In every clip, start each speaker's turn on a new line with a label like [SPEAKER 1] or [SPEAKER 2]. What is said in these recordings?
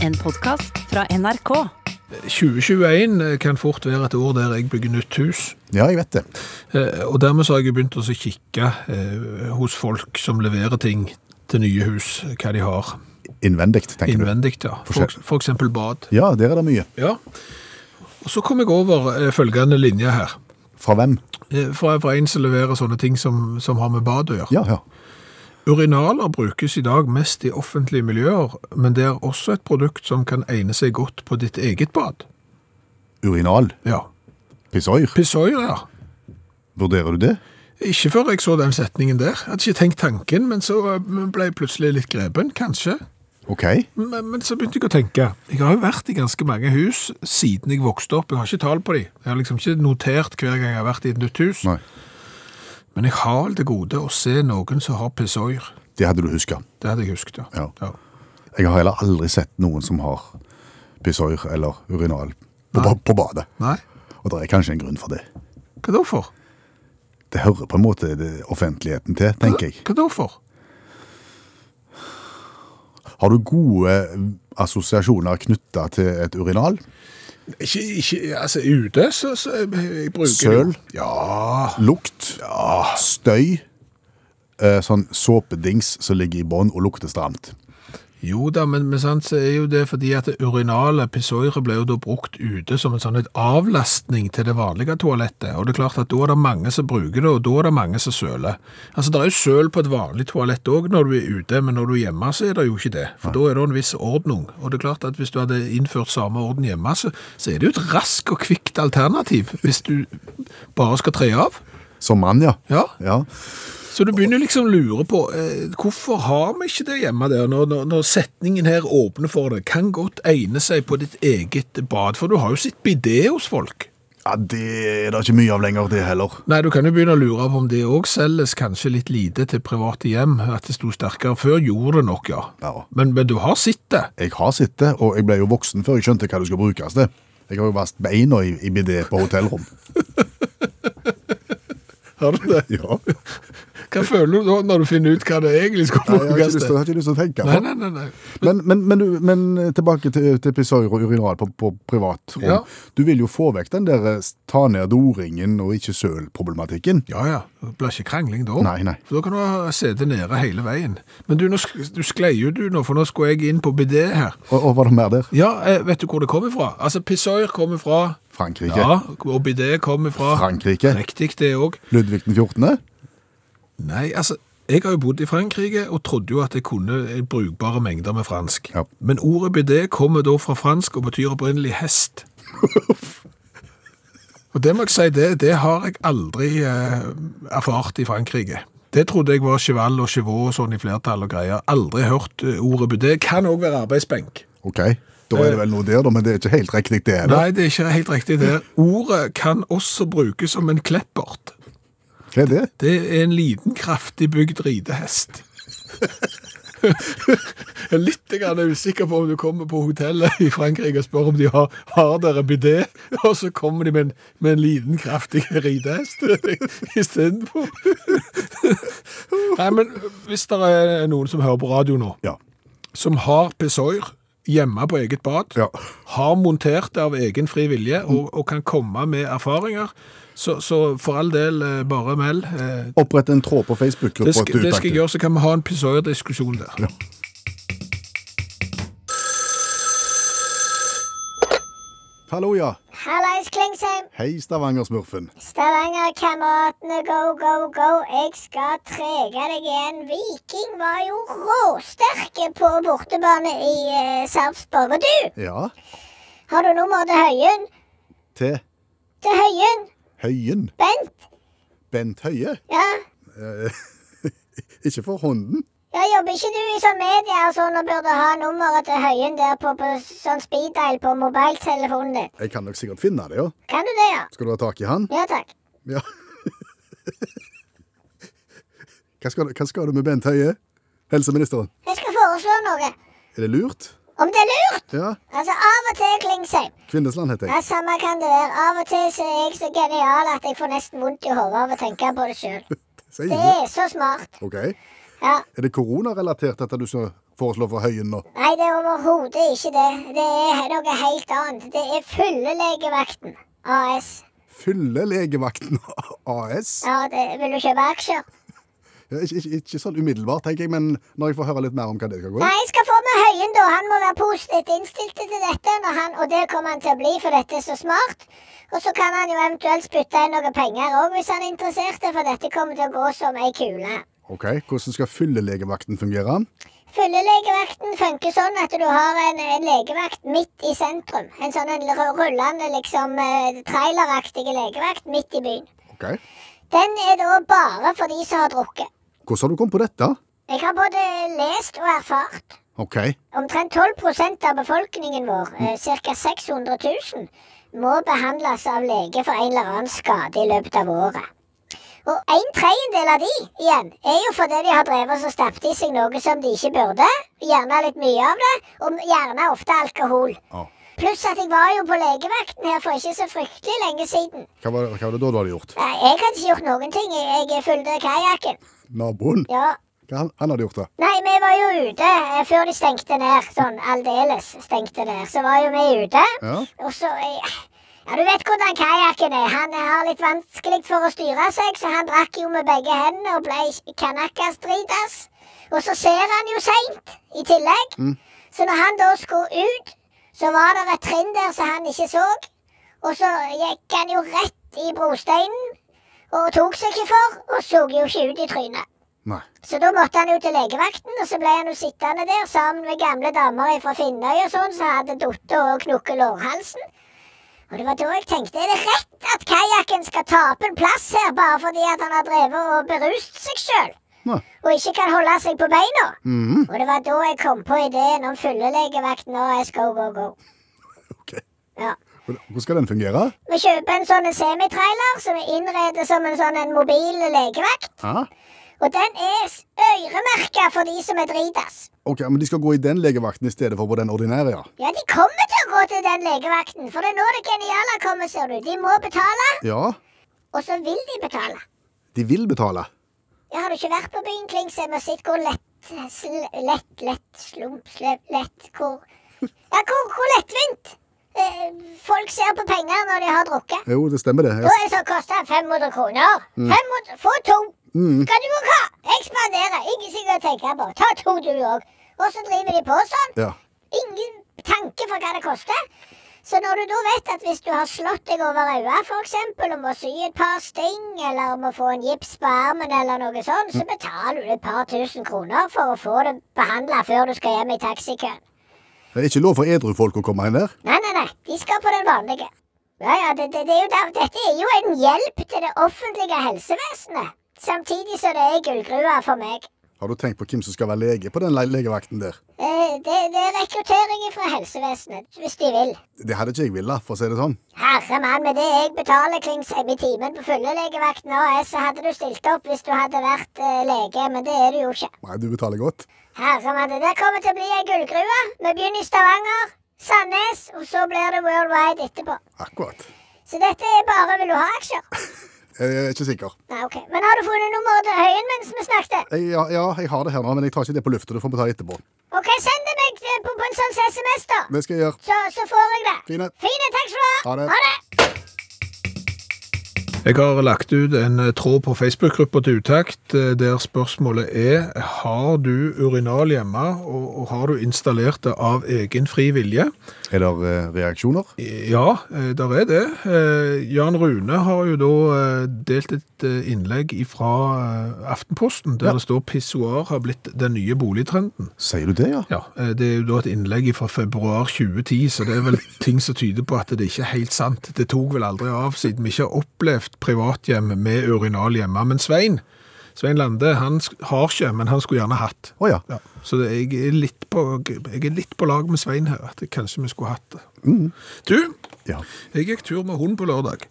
[SPEAKER 1] En podkast fra NRK.
[SPEAKER 2] 2021 eh, kan fort være et år der jeg bygger nytt hus.
[SPEAKER 3] Ja, jeg vet det.
[SPEAKER 2] Eh, Og dermed så har jeg begynt å så kikke eh, hos folk som leverer ting til nye hus, hva de har
[SPEAKER 3] Innvendig, tenker
[SPEAKER 2] innvendig. Ja. For,
[SPEAKER 3] Forskjell.
[SPEAKER 2] for eksempel bad.
[SPEAKER 3] du. Ja, der er det mye.
[SPEAKER 2] Ja. Og så kom jeg over eh, følgende linje her.
[SPEAKER 3] Fra hvem?
[SPEAKER 2] Eh, Fra, fra en som leverer sånne ting som, som har med bad å gjøre.
[SPEAKER 3] Ja, ja.
[SPEAKER 2] Urinaler brukes i dag mest i offentlige miljøer, men det er også et produkt som kan egne seg godt på ditt eget bad.
[SPEAKER 3] Urinal.
[SPEAKER 2] Ja.
[SPEAKER 3] Pissoir.
[SPEAKER 2] Pissoir, ja.
[SPEAKER 3] Vurderer du det?
[SPEAKER 2] Ikke før jeg så den setningen der. Jeg hadde ikke tenkt tanken, men så ble jeg plutselig litt grepen, kanskje.
[SPEAKER 3] Ok.
[SPEAKER 2] Men, men så begynte jeg å tenke. Jeg har jo vært i ganske mange hus siden jeg vokste opp. Jeg har ikke tall på de. Jeg har liksom ikke notert hver gang jeg har vært i et nytt hus.
[SPEAKER 3] Nei.
[SPEAKER 2] Men jeg har vel til gode å se noen som har pissoir.
[SPEAKER 3] Det hadde du huska.
[SPEAKER 2] Det hadde jeg husket, ja.
[SPEAKER 3] Ja. Jeg har heller aldri sett noen som har pissoir eller urinal på, ba- på badet.
[SPEAKER 2] Nei,
[SPEAKER 3] Og det er kanskje en grunn for det.
[SPEAKER 2] hva da for?
[SPEAKER 3] Det hører på en måte det- offentligheten til, tenker jeg.
[SPEAKER 2] Hva da for?
[SPEAKER 3] Har du gode eh, assosiasjoner knytta til et urinal?
[SPEAKER 2] Ikke, ikke altså ute, så, så jeg, jeg bruker
[SPEAKER 3] Søl?
[SPEAKER 2] det jo. Ja,
[SPEAKER 3] Lukt? Støy? Eh, Sånn såpedings som ligger i bånn og lukter stramt.
[SPEAKER 2] Jo da, men, men sant, så er jo det fordi at urinale pissoiret ble jo da brukt ute som en sånn et avlastning til det vanlige toalettet. Og det er klart at da er det mange som bruker det, og da er det mange som søler. Altså, det er jo søl på et vanlig toalett òg når du er ute, men når du er hjemme så er det jo ikke det. For da er det en viss ordning. Og det er klart at hvis du hadde innført samme orden hjemme, så, så er det jo et rask og kvikt alternativ hvis du bare skal tre av.
[SPEAKER 3] Som mann, ja.
[SPEAKER 2] Ja,
[SPEAKER 3] ja.
[SPEAKER 2] så du begynner liksom å lure på eh, hvorfor har vi ikke det hjemme der, når, når, når setningen her åpner for det. Kan godt egne seg på ditt eget bad, for du har jo sitt bidé hos folk.
[SPEAKER 3] Ja, Det er det ikke mye av lenger, det heller.
[SPEAKER 2] Nei, du kan jo begynne å lure på om det òg selges kanskje litt lite til private hjem. At det sto sterkere før, gjorde det nok, ja.
[SPEAKER 3] Ja.
[SPEAKER 2] Men, men du har sett det.
[SPEAKER 3] Jeg har sett det, og jeg ble jo voksen før jeg skjønte hva det skulle brukes til. Jeg har jo vasket beina i, i bidé på hotellrom.
[SPEAKER 2] Har du det?
[SPEAKER 3] Ja.
[SPEAKER 2] Hva føler du da når du finner ut hva det egentlig
[SPEAKER 3] Nei,
[SPEAKER 2] skulle
[SPEAKER 3] jeg, har ikke
[SPEAKER 2] brukes
[SPEAKER 3] lyst til, jeg
[SPEAKER 2] til?
[SPEAKER 3] har ikke lyst til å tenke på
[SPEAKER 2] Nei,
[SPEAKER 3] det.
[SPEAKER 2] nei, nei, nei.
[SPEAKER 3] Men, men, men, du- men eh, tilbake til, til pissoir og urinal på, på privatrom.
[SPEAKER 2] Ja.
[SPEAKER 3] Du vil jo få vekk den der eh, ta ned doringen og ikke søl-problematikken.
[SPEAKER 2] Ja, ja. Det blir ikke krangling da.
[SPEAKER 3] Nei, nei.
[SPEAKER 2] For da kan du ha sete nede hele veien. Men du, nå sk- du sklei jo du nå, for nå skulle jeg inn på bidé her.
[SPEAKER 3] Og, og var det mer der?
[SPEAKER 2] Ja, eh, vet du hvor det kommer fra? Altså, pissoir kommer fra
[SPEAKER 3] Frankrike.
[SPEAKER 2] Ja, og bidé kommer fra
[SPEAKER 3] Frankrike.
[SPEAKER 2] Riktig, det òg.
[SPEAKER 3] Ludvig den 14.
[SPEAKER 2] Nei, altså, jeg har jo bodd i Frankrike og trodde jo at jeg kunne brukbare mengder med fransk.
[SPEAKER 3] Ja.
[SPEAKER 2] Men ordet bidé kommer da fra fransk og betyr opprinnelig hest. og det må jeg si, det, det har jeg aldri eh, erfart i Frankrike. Det trodde jeg var cheval og chevaux og sånn i flertall og greier. Aldri hørt eh, ordet bidé. Kan òg være arbeidsbenk.
[SPEAKER 3] Ok, da er det vel noe der, da, men det er ikke helt riktig, det heller.
[SPEAKER 2] Nei, det er ikke helt riktig det. Ordet kan også brukes som en kleppert.
[SPEAKER 3] Hva er det?
[SPEAKER 2] Det er en liten, kraftig bygd ridehest. Jeg er litt grann usikker på om du kommer på hotellet i Frankrike og spør om de har, har dere bidé, og så kommer de med en, med en liten, kraftig ridehest istedenfor. Nei, men hvis det er noen som hører på radio nå,
[SPEAKER 3] Ja.
[SPEAKER 2] som har pissoir hjemme på eget bad,
[SPEAKER 3] Ja.
[SPEAKER 2] har montert det av egen fri vilje og, og kan komme med erfaringer, så, så for all del, eh, bare meld. eh,
[SPEAKER 3] Opprette en tråd på Facebook-gruppa.
[SPEAKER 2] Det skal, det skal jeg gjøre, så kan vi ha en pissoir-diskusjon der.
[SPEAKER 3] Hallo, ja.
[SPEAKER 4] Hallais, Klingsheim.
[SPEAKER 3] Hei, Stavanger-smurfen.
[SPEAKER 4] Stavanger-kameratene, go, go, go. Jeg skal trege deg igjen. Viking var jo råsterke på bortebane i eh, Sarpsborg. Og du,
[SPEAKER 3] Ja,
[SPEAKER 4] har du nummer til Høyen?
[SPEAKER 3] til
[SPEAKER 4] Til Høyen?
[SPEAKER 3] Høyen.
[SPEAKER 4] Bent?
[SPEAKER 3] Bent Høie. Eh,
[SPEAKER 4] Ja?
[SPEAKER 3] Ikke for hånden.
[SPEAKER 4] Ja, Jobber ikke du i sånn media og sånn og burde ha nummeret til Høyen der på, på sånn speeddial på mobiltelefonen din?
[SPEAKER 3] Jeg kan nok sikkert finne det, jo.
[SPEAKER 4] Kan du det, ja?
[SPEAKER 3] Skal du ha tak i han?
[SPEAKER 4] Ja takk.
[SPEAKER 3] Ja. Hva skal, du- hva skal du med Bent Høie? Helseministeren.
[SPEAKER 4] Jeg skal foreslå noe.
[SPEAKER 3] Er det lurt?
[SPEAKER 4] Om det er lurt?
[SPEAKER 3] Ja.
[SPEAKER 4] Altså, av og til, Klingsheim.
[SPEAKER 3] Kvinnesland heter
[SPEAKER 4] Ja,
[SPEAKER 3] jeg.
[SPEAKER 4] Samme kan det være. Av og til så er jeg så genial at jeg får nesten vondt i hodet av å tenke på det sjøl.
[SPEAKER 3] Sier
[SPEAKER 4] Det
[SPEAKER 3] du.
[SPEAKER 4] er så smart.
[SPEAKER 3] Ok.
[SPEAKER 4] Ja.
[SPEAKER 3] Er det koronarelatert dette du så foreslår for Høyen nå?
[SPEAKER 4] Nei, det er overhodet ikke det. Det er noe helt annet. Det er fyllelegevakten AS.
[SPEAKER 3] Fylle legevakten AS?
[SPEAKER 4] Ja, det, vil du kjøpe aksjer?
[SPEAKER 3] Ja, ikke, ikke, ikke sånn umiddelbart, tenker jeg, men når jeg får høre litt mer om hva det skal gå i.
[SPEAKER 4] Nei, jeg skal få med Høyen, da. Han må være positivt innstilt til dette. Når han, og det kommer han til å bli, for dette er så smart. Og så kan han jo eventuelt spytte inn noen penger òg, hvis han er interessert, for dette kommer til å gå som ei kule.
[SPEAKER 3] Ok, Hvordan skal fyllelegevakten fungere?
[SPEAKER 4] Fyllelegevakten funker sånn at du har en, en legevakt midt i sentrum. En sånn en ru- rullende, liksom eh, traileraktig legevakt midt i byen.
[SPEAKER 3] Ok.
[SPEAKER 4] Den er da bare for de som har drukket.
[SPEAKER 3] Hvordan har du kommet på dette?
[SPEAKER 4] Jeg har både lest og erfart.
[SPEAKER 3] Ok.
[SPEAKER 4] Omtrent 12 av befolkningen vår, eh, ca. 600 000, må behandles av lege for en eller annen skade i løpet av året. Og en tredjedel av de igjen er jo fordi de har drevet og stappet i seg noe som de ikke burde. Gjerne litt mye av det, og gjerne ofte alkohol.
[SPEAKER 3] Ja.
[SPEAKER 4] Pluss at jeg var jo på legevakten her for ikke så fryktelig lenge siden.
[SPEAKER 3] Hva, var, hva var det da du hadde gjort?
[SPEAKER 4] Eh, Jeg hadde ikke gjort noen ting. Jeg jeg fulgte kajakken.
[SPEAKER 3] Naboen?
[SPEAKER 4] Ja,
[SPEAKER 3] Hva han, han hadde gjort det?
[SPEAKER 4] Nei, vi var jo ute eh, før de stengte ned. Sånn aldeles stengte ned. Så var jo vi ute.
[SPEAKER 3] Ja.
[SPEAKER 4] Og så eh, Ja, du vet hvordan kajakken er. Han eh, har litt vanskelig for å styre seg, så han drakk jo med begge hendene og ble kanakkastridas. Og så ser han jo seint i tillegg. Så når han da skulle ut, så var det et trinn der som han ikke så. Og så gikk han jo rett i brosteinen og tok seg ikke for, og så jo ikke ut i trynet.
[SPEAKER 3] Nei.
[SPEAKER 4] Så da måtte han jo til legevakten, og så ble han jo sittende der sammen med gamle damer fra Finnøy og sånn, som hadde datt og knukket lårhalsen. Og det var da jeg tenkte, er det rett at kajakken skal tape en plass her bare fordi at han har drevet og berust seg sjøl?
[SPEAKER 3] Nei.
[SPEAKER 4] Og ikke kan holde seg på beina?
[SPEAKER 3] Mhm.
[SPEAKER 4] Og det var da jeg kom på ideen om fyllelegevakten og AS Go Go Go.
[SPEAKER 3] Ok.
[SPEAKER 4] Ja.
[SPEAKER 3] Hvordan hvordan skal den fungere?
[SPEAKER 4] Vi kjøper en sånn en semitrailer som er innredet som en sånn en mobil legevakt.
[SPEAKER 3] Ja.
[SPEAKER 4] Og den er s- øremerka for de som er dritas.
[SPEAKER 3] Ok, men De skal gå i den legevakten i stedet for på den ordinære? ja?
[SPEAKER 4] Ja, de kommer til å gå til den legevakten, for det er nå det geniale kommer, ser du. De må betale,
[SPEAKER 3] Ja,
[SPEAKER 4] og så vil de betale.
[SPEAKER 3] de vil betale.
[SPEAKER 4] Ja, har du ikke vært på byen Klingsheim og sett hvor lett sl Lett, lett, slump, sløp, lett Hvor Ja, hvor, hvor lettvint eh, folk ser på penger når de har drukket.
[SPEAKER 3] Jo, det stemmer det.
[SPEAKER 4] Da
[SPEAKER 3] Jeg,
[SPEAKER 4] er det så koster 500 kroner. 500, få to. Skal du òg ha? Ekspandere. Ingenting å tenke på. Ta to, du òg. Og så driver de på sånn.
[SPEAKER 3] ja.
[SPEAKER 4] ingen tanke for hva det koster. Så når du da vet at hvis du har slått deg over øyet, for eksempel, og må sy et par sting, eller om å få en gips på armen, eller noe sånt, så betaler du et par tusen kroner for å få det behandla før du skal hjem i taxikøen.
[SPEAKER 3] Det er ikke lov for edru folk å komme inn der.
[SPEAKER 4] Nei, nei, nei, de skal på den vanlige. Ja, ja, det, det, det er jo der, Dette er jo en hjelp til det offentlige helsevesenet, samtidig som det er gullgruva for meg.
[SPEAKER 3] Har du tenkt på hvem som skal være lege på den le- legevakten der?
[SPEAKER 4] Eh, Det, det er rekruttering fra helsevesenet, hvis de vil.
[SPEAKER 3] Det hadde ikke jeg villet, for å si det sånn.
[SPEAKER 4] Herre mann, med det jeg betaler Klingsheim i timen på fyllelegevakten AS, eh, så hadde du stilt opp hvis du hadde vært eh, lege, men det er du jo ikke.
[SPEAKER 3] Nei, du betaler godt.
[SPEAKER 4] Herre mann, det der kommer til å bli ei gullgruve. Vi begynner i Stavanger, Sandnes, og så blir det worldwide etterpå.
[SPEAKER 3] Akkurat.
[SPEAKER 4] Så dette er bare vil du ha aksjer?
[SPEAKER 3] Jeg er ikke sikker.
[SPEAKER 4] Nei, ok. Men har du funnet nummeret til Høyen mens vi snakket?
[SPEAKER 3] Jeg, ja, ja, jeg har det her nå, men jeg tar ikke det på lufta. Det får vi ta etterpå.
[SPEAKER 4] Ok, send det meg eh, på, på en sånn SMS, da.
[SPEAKER 3] Det skal jeg gjøre.
[SPEAKER 4] Så, så får jeg det.
[SPEAKER 3] Fine.
[SPEAKER 4] Fine, takk skal du ha.
[SPEAKER 3] Ha det.
[SPEAKER 4] Ha det.
[SPEAKER 2] Jeg har lagt ut en eh, tråd på Facebook-gruppa til Utakt eh, der spørsmålet er har du urinal hjemme, og, og har du installert det av egen fri vilje?
[SPEAKER 3] Er det eh, reaksjoner?
[SPEAKER 2] Ja, eh, der er det. Eh, Jan Rune har jo da eh, delt et eh, innlegg fra Aftenposten der
[SPEAKER 3] Ja.
[SPEAKER 2] det står 'pissoar har blitt den nye boligtrenden'.
[SPEAKER 3] Sier du det, ja?
[SPEAKER 2] Ja, eh, Det er jo da et innlegg fra februar 2010, så det er vel ting som tyder på at det ikke er helt sant. Det tok vel aldri av, siden vi ikke har opplevd privathjem med urinal hjemme. Men Svein Svein Lande han sk- har ikke, men han skulle gjerne hatt.
[SPEAKER 3] Å ja.
[SPEAKER 2] Ja, så det, jeg, er litt på, jeg er litt på lag med Svein her, at kanskje vi skulle hatt det. Du,
[SPEAKER 3] ja.
[SPEAKER 2] jeg gikk tur med hund på lørdag.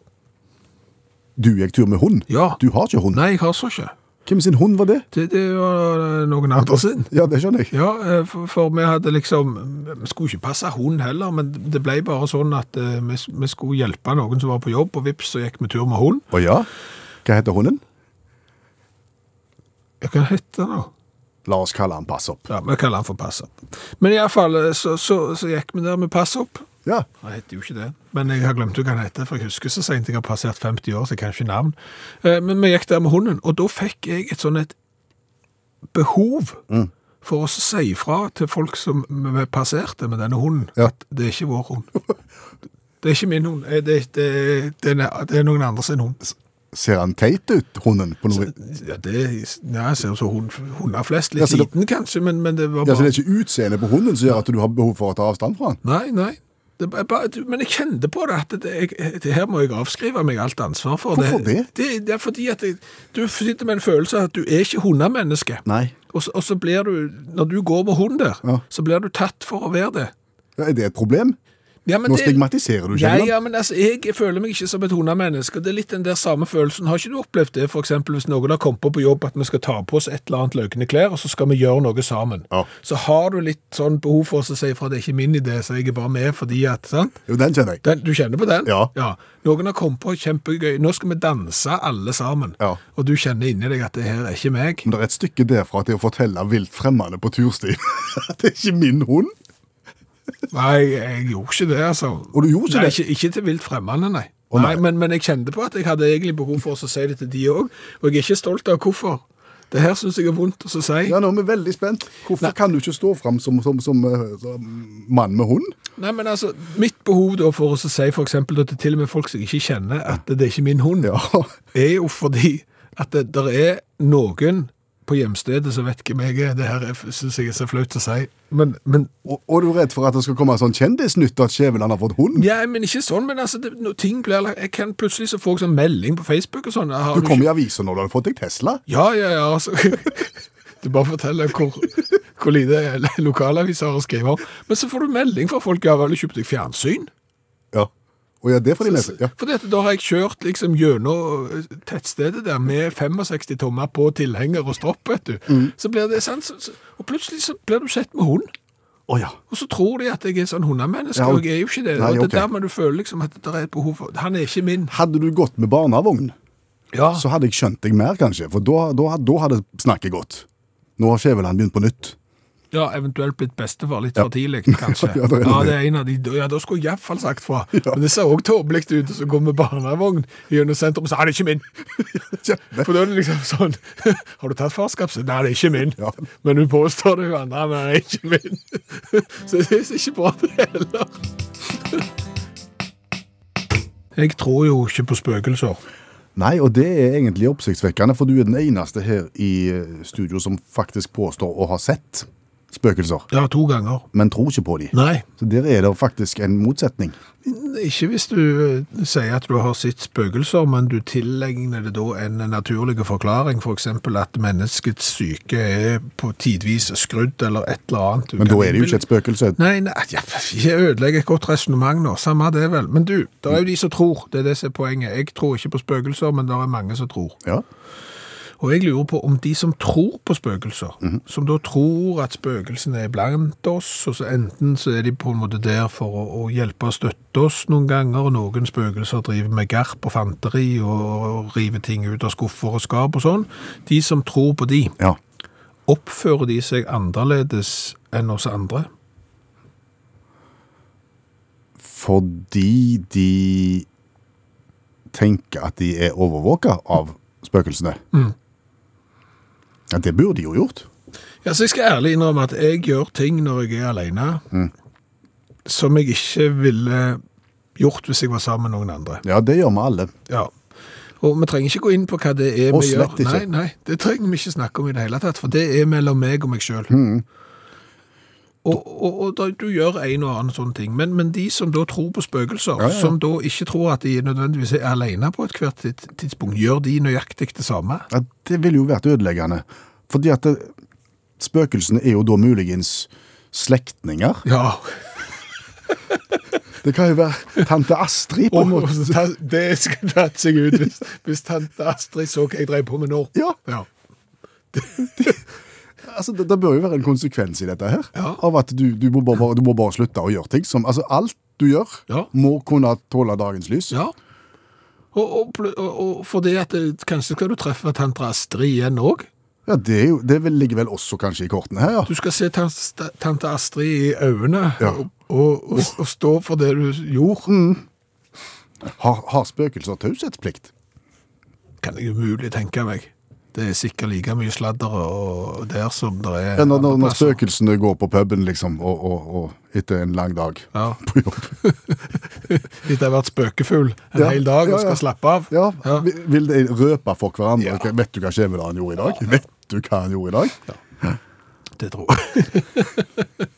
[SPEAKER 3] Du gikk tur med hund?
[SPEAKER 2] Ja.
[SPEAKER 3] Du har ikke hund?
[SPEAKER 2] Nei, jeg har så ikke.
[SPEAKER 3] Hvem sin hund var det?
[SPEAKER 2] Det, det var eh, noen andre sin.
[SPEAKER 3] Ja, det skjønner jeg.
[SPEAKER 2] Ja, eh, for, for vi hadde liksom Vi skulle ikke passe hund heller, men det ble bare sånn at eh, vi, vi skulle hjelpe noen som var på jobb, og vips, så gikk vi tur med hund.
[SPEAKER 3] Å ja? Hva heter hunden?
[SPEAKER 2] Ja, Hva heter den da?
[SPEAKER 3] La oss kalle han Pass opp.
[SPEAKER 2] Ja, Vi kaller han for Pass opp. Men iallfall eh, så, så, så gikk vi der med Pass opp.
[SPEAKER 3] Ja.
[SPEAKER 2] Han heter jo ikke det, men jeg har glemt hva han heter, for jeg husker så sent jeg har passert 50 år, så jeg kan ikke navn. Eh, Men vi gikk der med hunden, og da fikk jeg et sånn et behov
[SPEAKER 3] Mm.
[SPEAKER 2] for å si ifra til folk som vi passerte med denne hunden,
[SPEAKER 3] Ja.
[SPEAKER 2] at det er ikke vår hund. Det er ikke min hund, eh, det, det, det, er- det er noen andre sin hund.
[SPEAKER 3] Ser han teit ut, hunden? På noe?
[SPEAKER 2] Ja, det ja, jeg ser jo så hund, hunder flest, litt
[SPEAKER 3] Ja, så det-
[SPEAKER 2] liten kanskje, men, men det var
[SPEAKER 3] Ja,
[SPEAKER 2] bare...
[SPEAKER 3] så det er ikke utseendet på hunden som gjør at du har behov for å ta avstand fra han?
[SPEAKER 2] Nei, nei. Det er bare, du- men jeg kjente på det at det, jeg, det her må jeg avskrive meg alt ansvar for.
[SPEAKER 3] Hvorfor det?
[SPEAKER 2] Det, det er fordi at jeg, du sitter med en følelse av at du er ikke hundemenneske.
[SPEAKER 3] Nei.
[SPEAKER 2] Og, så- og så blir du, når du går med hund der,
[SPEAKER 3] Ja.
[SPEAKER 2] så blir du tatt for å være det.
[SPEAKER 3] Er det et problem?
[SPEAKER 2] Ja, men
[SPEAKER 3] Nå
[SPEAKER 2] det-
[SPEAKER 3] stigmatiserer du
[SPEAKER 2] Ja,
[SPEAKER 3] Kjelland.
[SPEAKER 2] ja, men altså, jeg føler meg ikke som et hundemenneske. og Det er litt den der samme følelsen. Har ikke du opplevd det, for eksempel hvis noen har kommet på på jobb at vi skal ta på oss et eller annet løkende klær, og så skal vi gjøre noe sammen?
[SPEAKER 3] Ja.
[SPEAKER 2] Så har du litt sånn behov for oss å si fra, det er ikke min idé, så jeg er bare med fordi at, sant?
[SPEAKER 3] Jo, den kjenner jeg.
[SPEAKER 2] Den, du kjenner på den?
[SPEAKER 3] Ja.
[SPEAKER 2] Noen har kommet på kjempegøy. Nå skal vi danse alle sammen.
[SPEAKER 3] Ja.
[SPEAKER 2] Og du kjenner inni deg at det her er ikke meg.
[SPEAKER 3] Men det er et stykke derfra til å fortelle vilt fremmede på tursti at det er ikke min hund.
[SPEAKER 2] Nei, jeg gjorde ikke det, altså.
[SPEAKER 3] Og du gjorde ikke
[SPEAKER 2] nei,
[SPEAKER 3] det?
[SPEAKER 2] Ikke, ikke til vilt fremmede, nei.
[SPEAKER 3] Å, nei.
[SPEAKER 2] men, men jeg kjente på at jeg hadde egentlig behov for å si det til de òg. Og jeg er ikke stolt av hvorfor. Det her syns jeg er vondt å si.
[SPEAKER 3] Ja, nå er vi veldig spent. Hvorfor kan du ikke stå fram som, som, som, eh, som mann med hund?
[SPEAKER 2] Nei, men altså, Mitt behov da for å si for eksempel, da, til til og med folk som jeg ikke kjenner, at det er ikke min hund,
[SPEAKER 3] Ja.
[SPEAKER 2] er jo fordi at det der er noen på hjemstedet som vet hvem jeg er. Det her syns jeg er så flaut å si. Men, men
[SPEAKER 3] Og, og du er redd for at det skal komme en sånn kjendisnytt at Skjæveland har fått hund?
[SPEAKER 2] Ja, men ikke sånn, men altså, det, når ting blir lagt- Jeg kan plutselig så får jeg sånn melding på Facebook og sånn. har
[SPEAKER 3] Du kom
[SPEAKER 2] ikke-
[SPEAKER 3] i avisa når du hadde fått deg Tesla.
[SPEAKER 2] Ja, ja, ja. Altså. Du bare forteller hvor, hvor lite lokalaviser har å skrive om. Men så får du melding fra folk. Ja, vel, du kjøpte deg fjernsyn?
[SPEAKER 3] Ja. Og ja, det får de lese. Ja.
[SPEAKER 2] For dette, da har jeg kjørt liksom gjennom eh, tettstedet der med 65 tommer på tilhenger og stropp, vet du.
[SPEAKER 3] Mm.
[SPEAKER 2] Så blir det sant, så, så, og plutselig så blir du sett med hund.
[SPEAKER 3] Å ja.
[SPEAKER 2] Og så tror de at jeg er sånn hundemenneske,
[SPEAKER 3] Ja,
[SPEAKER 2] og jeg er jo ikke det.
[SPEAKER 3] nei,
[SPEAKER 2] og det
[SPEAKER 3] ok.
[SPEAKER 2] er dermed du føler liksom at det er et behov for Han er ikke min.
[SPEAKER 3] Hadde du gått med barnevogn,
[SPEAKER 2] Ja.
[SPEAKER 3] så hadde jeg skjønt deg mer, kanskje. For da, da, da hadde snakket gått. Nå har Skjæveland begynt på nytt.
[SPEAKER 2] Ja, eventuelt blitt bestefar litt
[SPEAKER 3] Ja.
[SPEAKER 2] for tidlig, kanskje.
[SPEAKER 3] Ja,
[SPEAKER 2] ja,
[SPEAKER 3] det er
[SPEAKER 2] det
[SPEAKER 3] det.
[SPEAKER 2] er en av de. Ja, da skulle jeg iallfall sagt fra. Men det ser òg tåpelig ut som går med barnevogn gjennom sentrum og sier 'det er ikke min'.
[SPEAKER 3] Kjempe.
[SPEAKER 2] For da er det liksom sånn 'Har du tatt farskap?' Så, 'Nei, det er ikke min'.
[SPEAKER 3] Ja.
[SPEAKER 2] Men hun påstår det jo andre, men det er ikke min. Så det er ikke bra, det heller. Jeg tror jo ikke på spøkelser.
[SPEAKER 3] Nei, og det er egentlig oppsiktsvekkende, for du er den eneste her i eh, studio som faktisk påstår å ha sett spøkelser,
[SPEAKER 2] Ja, to ganger.
[SPEAKER 3] men tror ikke på de.
[SPEAKER 2] Nei.
[SPEAKER 3] Så der er det faktisk en motsetning.
[SPEAKER 2] Ikke hvis du eh, sier at du har sett spøkelser, men du tillegner det da en naturlig forklaring, f.eks. For at menneskets syke er på tidvis skrudd eller et eller annet.
[SPEAKER 3] Men da er det jo ikke et spøkelse.
[SPEAKER 2] Nei, nei, ja, jeg ødelegger et godt resonnement nå, samme det vel. Men du, det er jo de som tror, det er det som er poenget. Jeg tror ikke på spøkelser, men det er mange som tror.
[SPEAKER 3] Ja.
[SPEAKER 2] Og jeg lurer på om de som tror på spøkelser, som da tror at spøkelsene er blant oss, og så enten så er de på en måte der for å, å hjelpe og støtte oss noen ganger, og noen spøkelser driver med garp og fanteri og, og river ting ut av skuffer og skap og sånn, de som tror på de,
[SPEAKER 3] ja.
[SPEAKER 2] oppfører de seg annerledes enn oss andre?
[SPEAKER 3] Fordi de tenker at de er overvåka av spøkelsene. Ja, det burde de jo gjort.
[SPEAKER 2] Ja, så jeg skal ærlig innrømme at jeg gjør ting når jeg er alene, som jeg ikke ville gjort hvis jeg var sammen med noen andre.
[SPEAKER 3] Ja, det gjør vi alle.
[SPEAKER 2] Ja. Og vi trenger ikke gå inn på hva det er
[SPEAKER 3] Og
[SPEAKER 2] vi gjør.
[SPEAKER 3] slett ikke.
[SPEAKER 2] Nei, nei, det trenger vi ikke snakke om i det hele tatt, for det er mellom meg og meg sjøl. Og, og, og da, du gjør en og annen sånn ting, men, men de som da tror på spøkelser,
[SPEAKER 3] Ja, ja, ja.
[SPEAKER 2] som da ikke tror at de nødvendigvis er alene på et hvert tids- tidspunkt, gjør de nøyaktig det samme?
[SPEAKER 3] Ja, det ville jo vært ødeleggende. Fordi at det, spøkelsene er jo da muligens slektninger.
[SPEAKER 2] Ja.
[SPEAKER 3] Det kan jo være tante Astrid på en
[SPEAKER 2] Og, og
[SPEAKER 3] måte.
[SPEAKER 2] ta- det skulle tatt seg ut hvis, hvis tante Astrid så hva jeg drev på med nå.
[SPEAKER 3] Ja,
[SPEAKER 2] Ja.
[SPEAKER 3] altså det, det bør jo være en konsekvens i dette her.
[SPEAKER 2] Ja.
[SPEAKER 3] Av at du, du, må bare, du må bare slutte å gjøre ting som Altså alt du gjør,
[SPEAKER 2] Ja.
[SPEAKER 3] må kunne tåle dagens lys.
[SPEAKER 2] Ja. eh, Og, og, pl- og, og fordi at det, kanskje skal du treffe tante Astrid igjen òg?
[SPEAKER 3] Ja, det, er jo, det vel- ligger vel også kanskje i kortene her, ja.
[SPEAKER 2] Du skal se tante, tante Astrid i øynene
[SPEAKER 3] Ja.
[SPEAKER 2] og, og, og, og stå for det du gjorde.
[SPEAKER 3] Mm. Har, har spøkelser taushetsplikt?
[SPEAKER 2] Kan jeg umulig tenke meg. Det er sikkert like mye sladder og og der som det er
[SPEAKER 3] Ja, når, når,
[SPEAKER 2] andre
[SPEAKER 3] når
[SPEAKER 2] plasser.
[SPEAKER 3] spøkelsene går på puben, liksom, og, og, og etter en lang dag
[SPEAKER 2] Ja.
[SPEAKER 3] på jobb.
[SPEAKER 2] Etter å ha vært spøkefull en
[SPEAKER 3] Ja,
[SPEAKER 2] hel dag og
[SPEAKER 3] ja, ja.
[SPEAKER 2] skal slappe av.
[SPEAKER 3] Ja,
[SPEAKER 2] Ja.
[SPEAKER 3] vi- Vil de røpe for hverandre?
[SPEAKER 2] Ja.
[SPEAKER 3] Hva- Vet du hva Skjæveland gjorde i dag? Vet du hva han gjorde i dag?
[SPEAKER 2] Det tror jeg.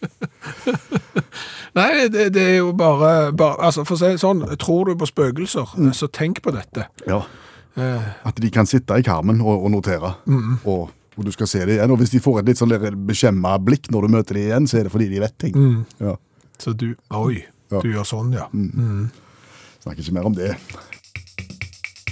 [SPEAKER 2] Nei, det, det er jo bare, bare altså For å si det sånn, tror du på spøkelser,
[SPEAKER 3] Mm.
[SPEAKER 2] så tenk på dette.
[SPEAKER 3] Ja. At de kan sitte i karmen og, og notere. Og, og du skal se det igjen. Og hvis de får et litt sånn der beskjemma blikk når du møter dem igjen, så er det fordi de vet ting. Ja.
[SPEAKER 2] Så du Oi,
[SPEAKER 3] Ja. Mm.
[SPEAKER 2] du gjør sånn, ja.
[SPEAKER 3] Snakker ikke mer om det. eh,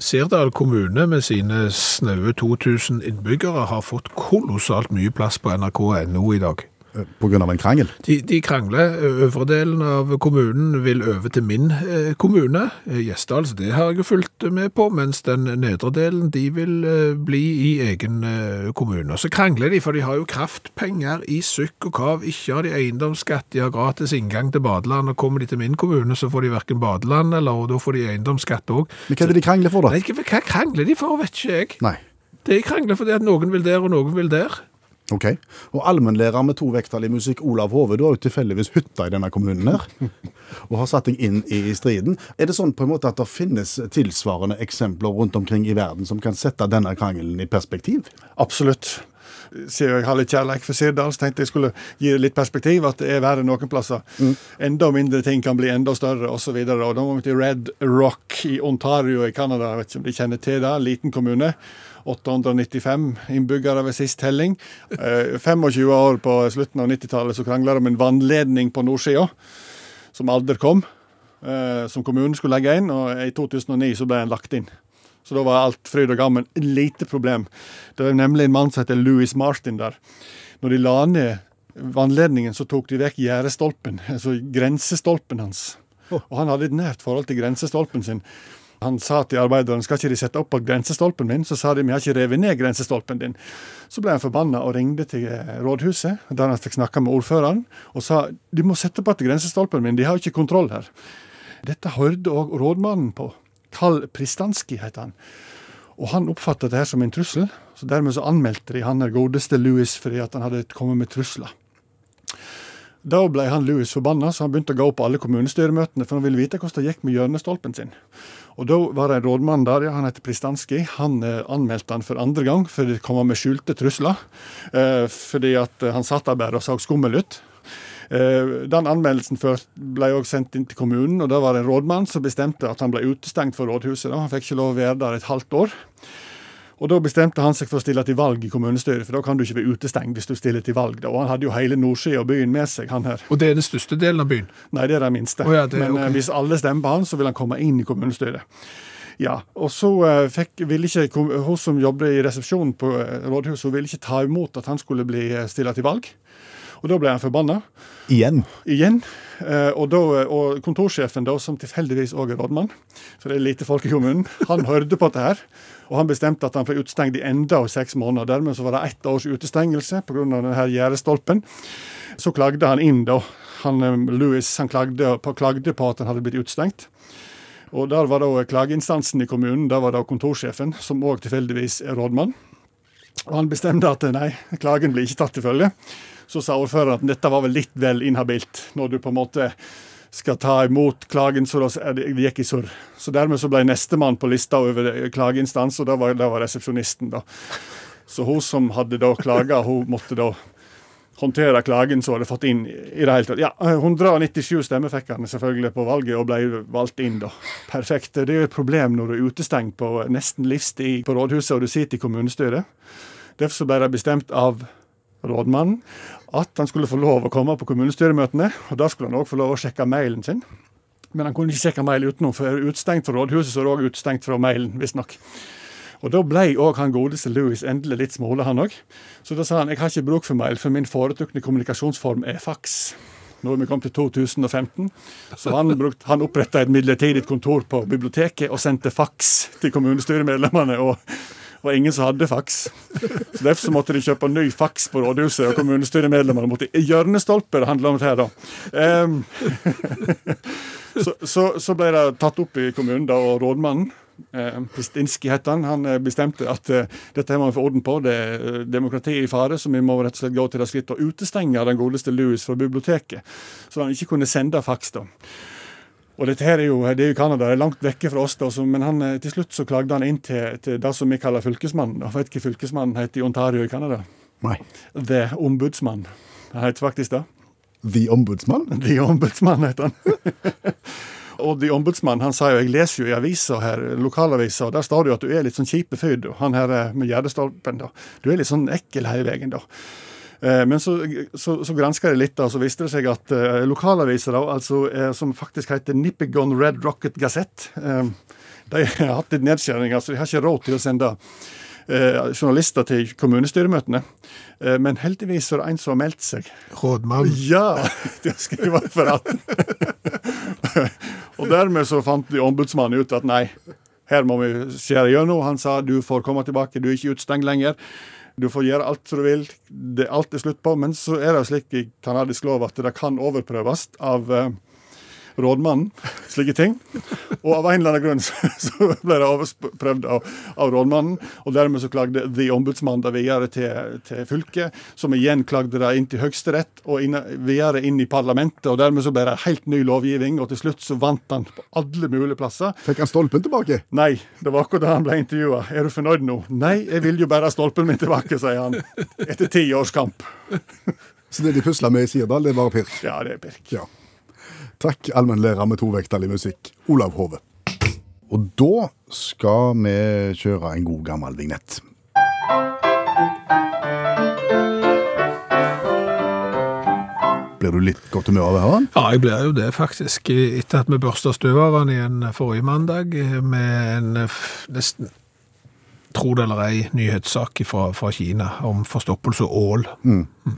[SPEAKER 2] Sirdal kommune med sine snaue 2000 innbyggere har fått kolossalt mye plass på nrk.no i dag.
[SPEAKER 3] Eh, På grunn av en krangel.
[SPEAKER 2] De, de krangler. Øvre delen av kommunen vil over til min eh, kommune, eh, Gjesdal, så det har jeg jo fulgt med på, mens den nedre delen de vil eh, bli i egen eh, kommune. Og Så krangler de, for de har jo kraftpenger i sukk og kav, ikke har de eiendomsskatt, de har gratis inngang til badeland, og kommer de til min kommune, så får de hverken badeland, eller og da får de eiendomsskatt også.
[SPEAKER 3] Men hva er det de krangler for, da?
[SPEAKER 2] Nei, hva hva krangler de for, vet ikke jeg.
[SPEAKER 3] Nei.
[SPEAKER 2] De krangler fordi at noen vil der, og noen vil der.
[SPEAKER 3] Ok. Og allmennlærer med to vekttall i musikk, Olav Hove, du har jo tilfeldigvis hytta i denne kommunen her, og har satt deg inn i striden. Er det sånn på en måte at det finnes tilsvarende eksempler rundt omkring i verden som kan sette denne krangelen i perspektiv?
[SPEAKER 5] Absolutt. Siden jeg har litt kjærlighet for Sirdal, så tenkte jeg skulle gi det litt perspektiv. At det er verre noen plasser. Enda mindre ting kan bli enda større, osv. Da må vi til Red Rock i Ontario i Canada. Jeg Vet ikke om de kjenner til det. Liten kommune. 895 innbyggere ved sist telling. Eh, 25 år på slutten av 90-tallet så krangla de om en vannledning på nordsida, som aldri kom. eh, Som kommunen skulle legge inn, og i 2009 så ble den lagt inn. Så da var alt fryd og gammen. Lite problem. Det var nemlig en mann som heter Louis Martin der. Når de la ned vannledningen, så tok de vekk gjerdestolpen, altså grensestolpen hans. Og han hadde et nært forhold til grensestolpen sin. Han sa til arbeiderne skal ikke de sette opp på grensestolpen min, så sa de vi har ikke revet ned grensestolpen din. Så ble han forbanna og ringte til eh, rådhuset, der han fikk snakka med ordføreren, og sa de må sette på til grensestolpen min, de har jo ikke kontroll her. Dette hørte òg rådmannen på. Karl Pristanski het han. Og han oppfattet det her som en trussel, så dermed så anmeldte de han der godeste Louis fordi at han hadde kommet med trusler. Da ble han Louis forbanna, så han begynte å gå på alle kommunestyremøtene, for han ville vite hvordan det gikk med hjørnestolpen sin. Og da var det en rådmann der, ja, han heter Pristanski. Han eh, anmeldte han for andre gang for å komme med skjulte trusler, eh, fordi at eh, han satt der bare og så skummel ut. Eh, Den anmeldelsen før ble også sendt inn til kommunen, og da var det en rådmann som bestemte at han ble utestengt fra rådhuset. Da. Han fikk ikke lov å være der et halvt år. Og Da bestemte han seg for å stille til valg i kommunestyret, for da kan du ikke være utestengt hvis du stiller til valg. Da. Og Han hadde jo hele nordsida av byen med seg, han her.
[SPEAKER 2] Og det er den største delen av byen.
[SPEAKER 5] Nei, det er det minste.
[SPEAKER 2] Å ja, det-
[SPEAKER 5] Men eh,
[SPEAKER 2] ok.
[SPEAKER 5] hvis alle stemmer på han, så vil han komme inn i kommunestyret. Ja, og så eh, fikk, ville ikke kom- hun som jobbet i resepsjonen på eh, rådhuset, hun ville ikke ta imot at han skulle bli eh, stilla til valg. Og da ble han forbanna
[SPEAKER 3] Igjen.
[SPEAKER 5] igjen. Eh, Og, da, og kontorsjefen, da, som tilfeldigvis òg er rådmann, for det er lite folk i kommunen, han hørte på dette her, og han bestemte at han ble utestengt i enda av seks måneder. Dermed så var det ett års utestengelse pga. denne gjerdestolpen. Så klagde han inn, da. Han, eh, Louis han klagde, på, klagde på at han hadde blitt utestengt. Og der var da klageinstansen i kommunen, der var da kontorsjefen, som òg tilfeldigvis er rådmann. Og han bestemte at eh, nei, klagen blir ikke tatt til følge. Så sa ordføreren at dette var vel litt vel inhabilt, når du på en måte skal ta imot klagen, så da er det det gikk i surr. Så dermed så ble nestemann på lista over eh, klageinstans, og da var, da var resepsjonisten, da. Så hun som hadde da klaga, hun måtte da håndtere klagen som hun hadde fått inn i det hele tatt. Ja, eh, 197 stemmer fikk han selvfølgelig på valget, og ble valgt inn, da. Perfekt. Det er jo et problem når du er utestengt på nesten livstid på rådhuset, og du sitter i kommunestyret. Derfor så ble det bestemt av rådmannen at han skulle få lov å komme på kommunestyremøtene. Og da skulle han òg få lov å sjekke mailen sin. Men han kunne ikke sjekke mail utenom, for er du utestengt fra rådhuset, så er du òg utestengt fra mailen, visstnok. Og da ble òg han godeste Louis endelig litt småle, han òg. Så da sa han jeg har ikke bruk for mail, for min foretrukne kommunikasjonsform er faks. Nå er vi kommet til 2015, så han, brukt, han oppretta et midlertidig kontor på biblioteket og sendte faks til kommunestyremedlemmene og, var ingen som hadde faks. Så Derfor så måtte de kjøpe ny faks på rådhuset, og kommunestyremedlemmene måtte i hjørnestolper. Det handler om det her, da. Ehm, så, så, så ble det tatt opp i kommunen, da, og rådmannen Eh, Pristinski het han. Han eh, bestemte at eh, dette her må vi få orden på. Det er eh, demokrati i fare, så vi må rett og slett gå til det skritt å utestenge den godeste Louis fra biblioteket. Så han ikke kunne sende faks, da. Og dette her er jo, det er jo Canada, det er langt vekke fra oss, da, så, men han, eh, til slutt så klagde han inn til, til det som vi kaller fylkesmannen. Og vet du hva fylkesmannen heter i Ontario i Canada?
[SPEAKER 3] Nei.
[SPEAKER 5] The Ombudsman. Han heter faktisk det.
[SPEAKER 3] The Ombudsmann?
[SPEAKER 5] The Ombudsman heter han. og The Ombudsman han sa jo, jeg leser jo i avisa her, lokalavisa, og der står det jo at du er litt sånn kjipe fyr, du. Han her eh, med gjerdestolpen, da. Du er litt sånn ekkel hele veien, da. Eh, Men så, så, så granska jeg litt, da, så viste det seg at eh, lokalaviser, da, altså, eh, som faktisk heter Nippigon Red Rocket Gazette, eh, de har hatt litt nedskjæringer, så de har ikke råd til å sende eh, journalister til kommunestyremøtene. Eh, men heldigvis er det en som har meldt seg.
[SPEAKER 2] Rådmann.
[SPEAKER 5] Ja! De skriver referat. og dermed så fant de ombudsmannen ut at nei, her må vi skjære gjennom. Han sa du får komme tilbake, du er ikke utestengt lenger. Du får gjøre alt som du vil. Det, alt er slutt på. Men så er det slik i kanadisk lov at det kan overprøves av eh, rådmannen, slike ting. Og av en eller annen grunn så, så ble det overprøvd av, av rådmannen, og dermed så klagde The Ombudsman det videre til, til fylket, som igjen klagde det inn til Høyesterett og inn, videre inn i parlamentet, og dermed så ble det helt ny lovgivning, og til slutt så vant han på alle mulige plasser.
[SPEAKER 3] Fikk han stolpen tilbake?
[SPEAKER 5] Nei, det var akkurat da han ble intervjua. Er du fornøyd nå? Nei, jeg vil jo bare ha stolpen min tilbake, sier han. Etter ti års kamp.
[SPEAKER 3] Så det de pusla med i Sirdal, det er bare pirk?
[SPEAKER 5] Ja, det er pirk.
[SPEAKER 3] Ja. Takk, allmennlærer med tovektig musikk, Olav Hove. Og da skal vi kjøre en god gammel vignett. Blir du litt godt humør av det her?
[SPEAKER 2] Ja, jeg blir jo det, faktisk. Etter at vi børsta støv av han igjen forrige mandag eh, med en f- nesten tro det eller ei nyhetssak fra, fra Kina om forstoppelse og ål.
[SPEAKER 3] Mm.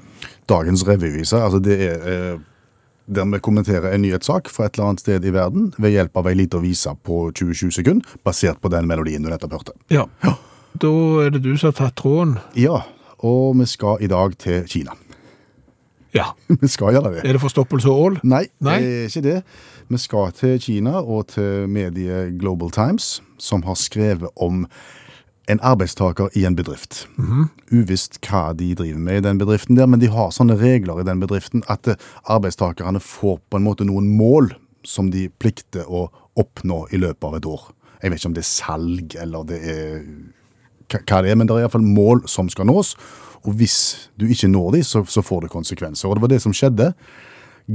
[SPEAKER 3] Dagens revyvise, altså det er eh, der vi kommenterer en nyhetssak fra et eller annet sted i verden ved hjelp av ei lita vise på 20-20 sekunder, basert på den melodien du nettopp hørte.
[SPEAKER 2] Ja. Da er det du som har tatt tråden.
[SPEAKER 3] Ja, og vi skal i dag til Kina.
[SPEAKER 2] Ja.
[SPEAKER 3] vi skal gjøre det.
[SPEAKER 2] Er det forstoppelse og ål?
[SPEAKER 3] Nei,
[SPEAKER 2] Nei?
[SPEAKER 3] det er ikke det. Vi skal til Kina og til mediet Global Times, som har skrevet om en arbeidstaker i en bedrift. Uvisst hva de driver med i den bedriften der, men de har sånne regler i den bedriften at eh, arbeidstakerne får på en måte noen mål som de plikter å oppnå i løpet av et år. Jeg vet ikke om det er salg eller det er hva hva det er, men det er iallfall mål som skal nås. Og hvis du ikke når de, så, så får det konsekvenser. Og det var det som skjedde.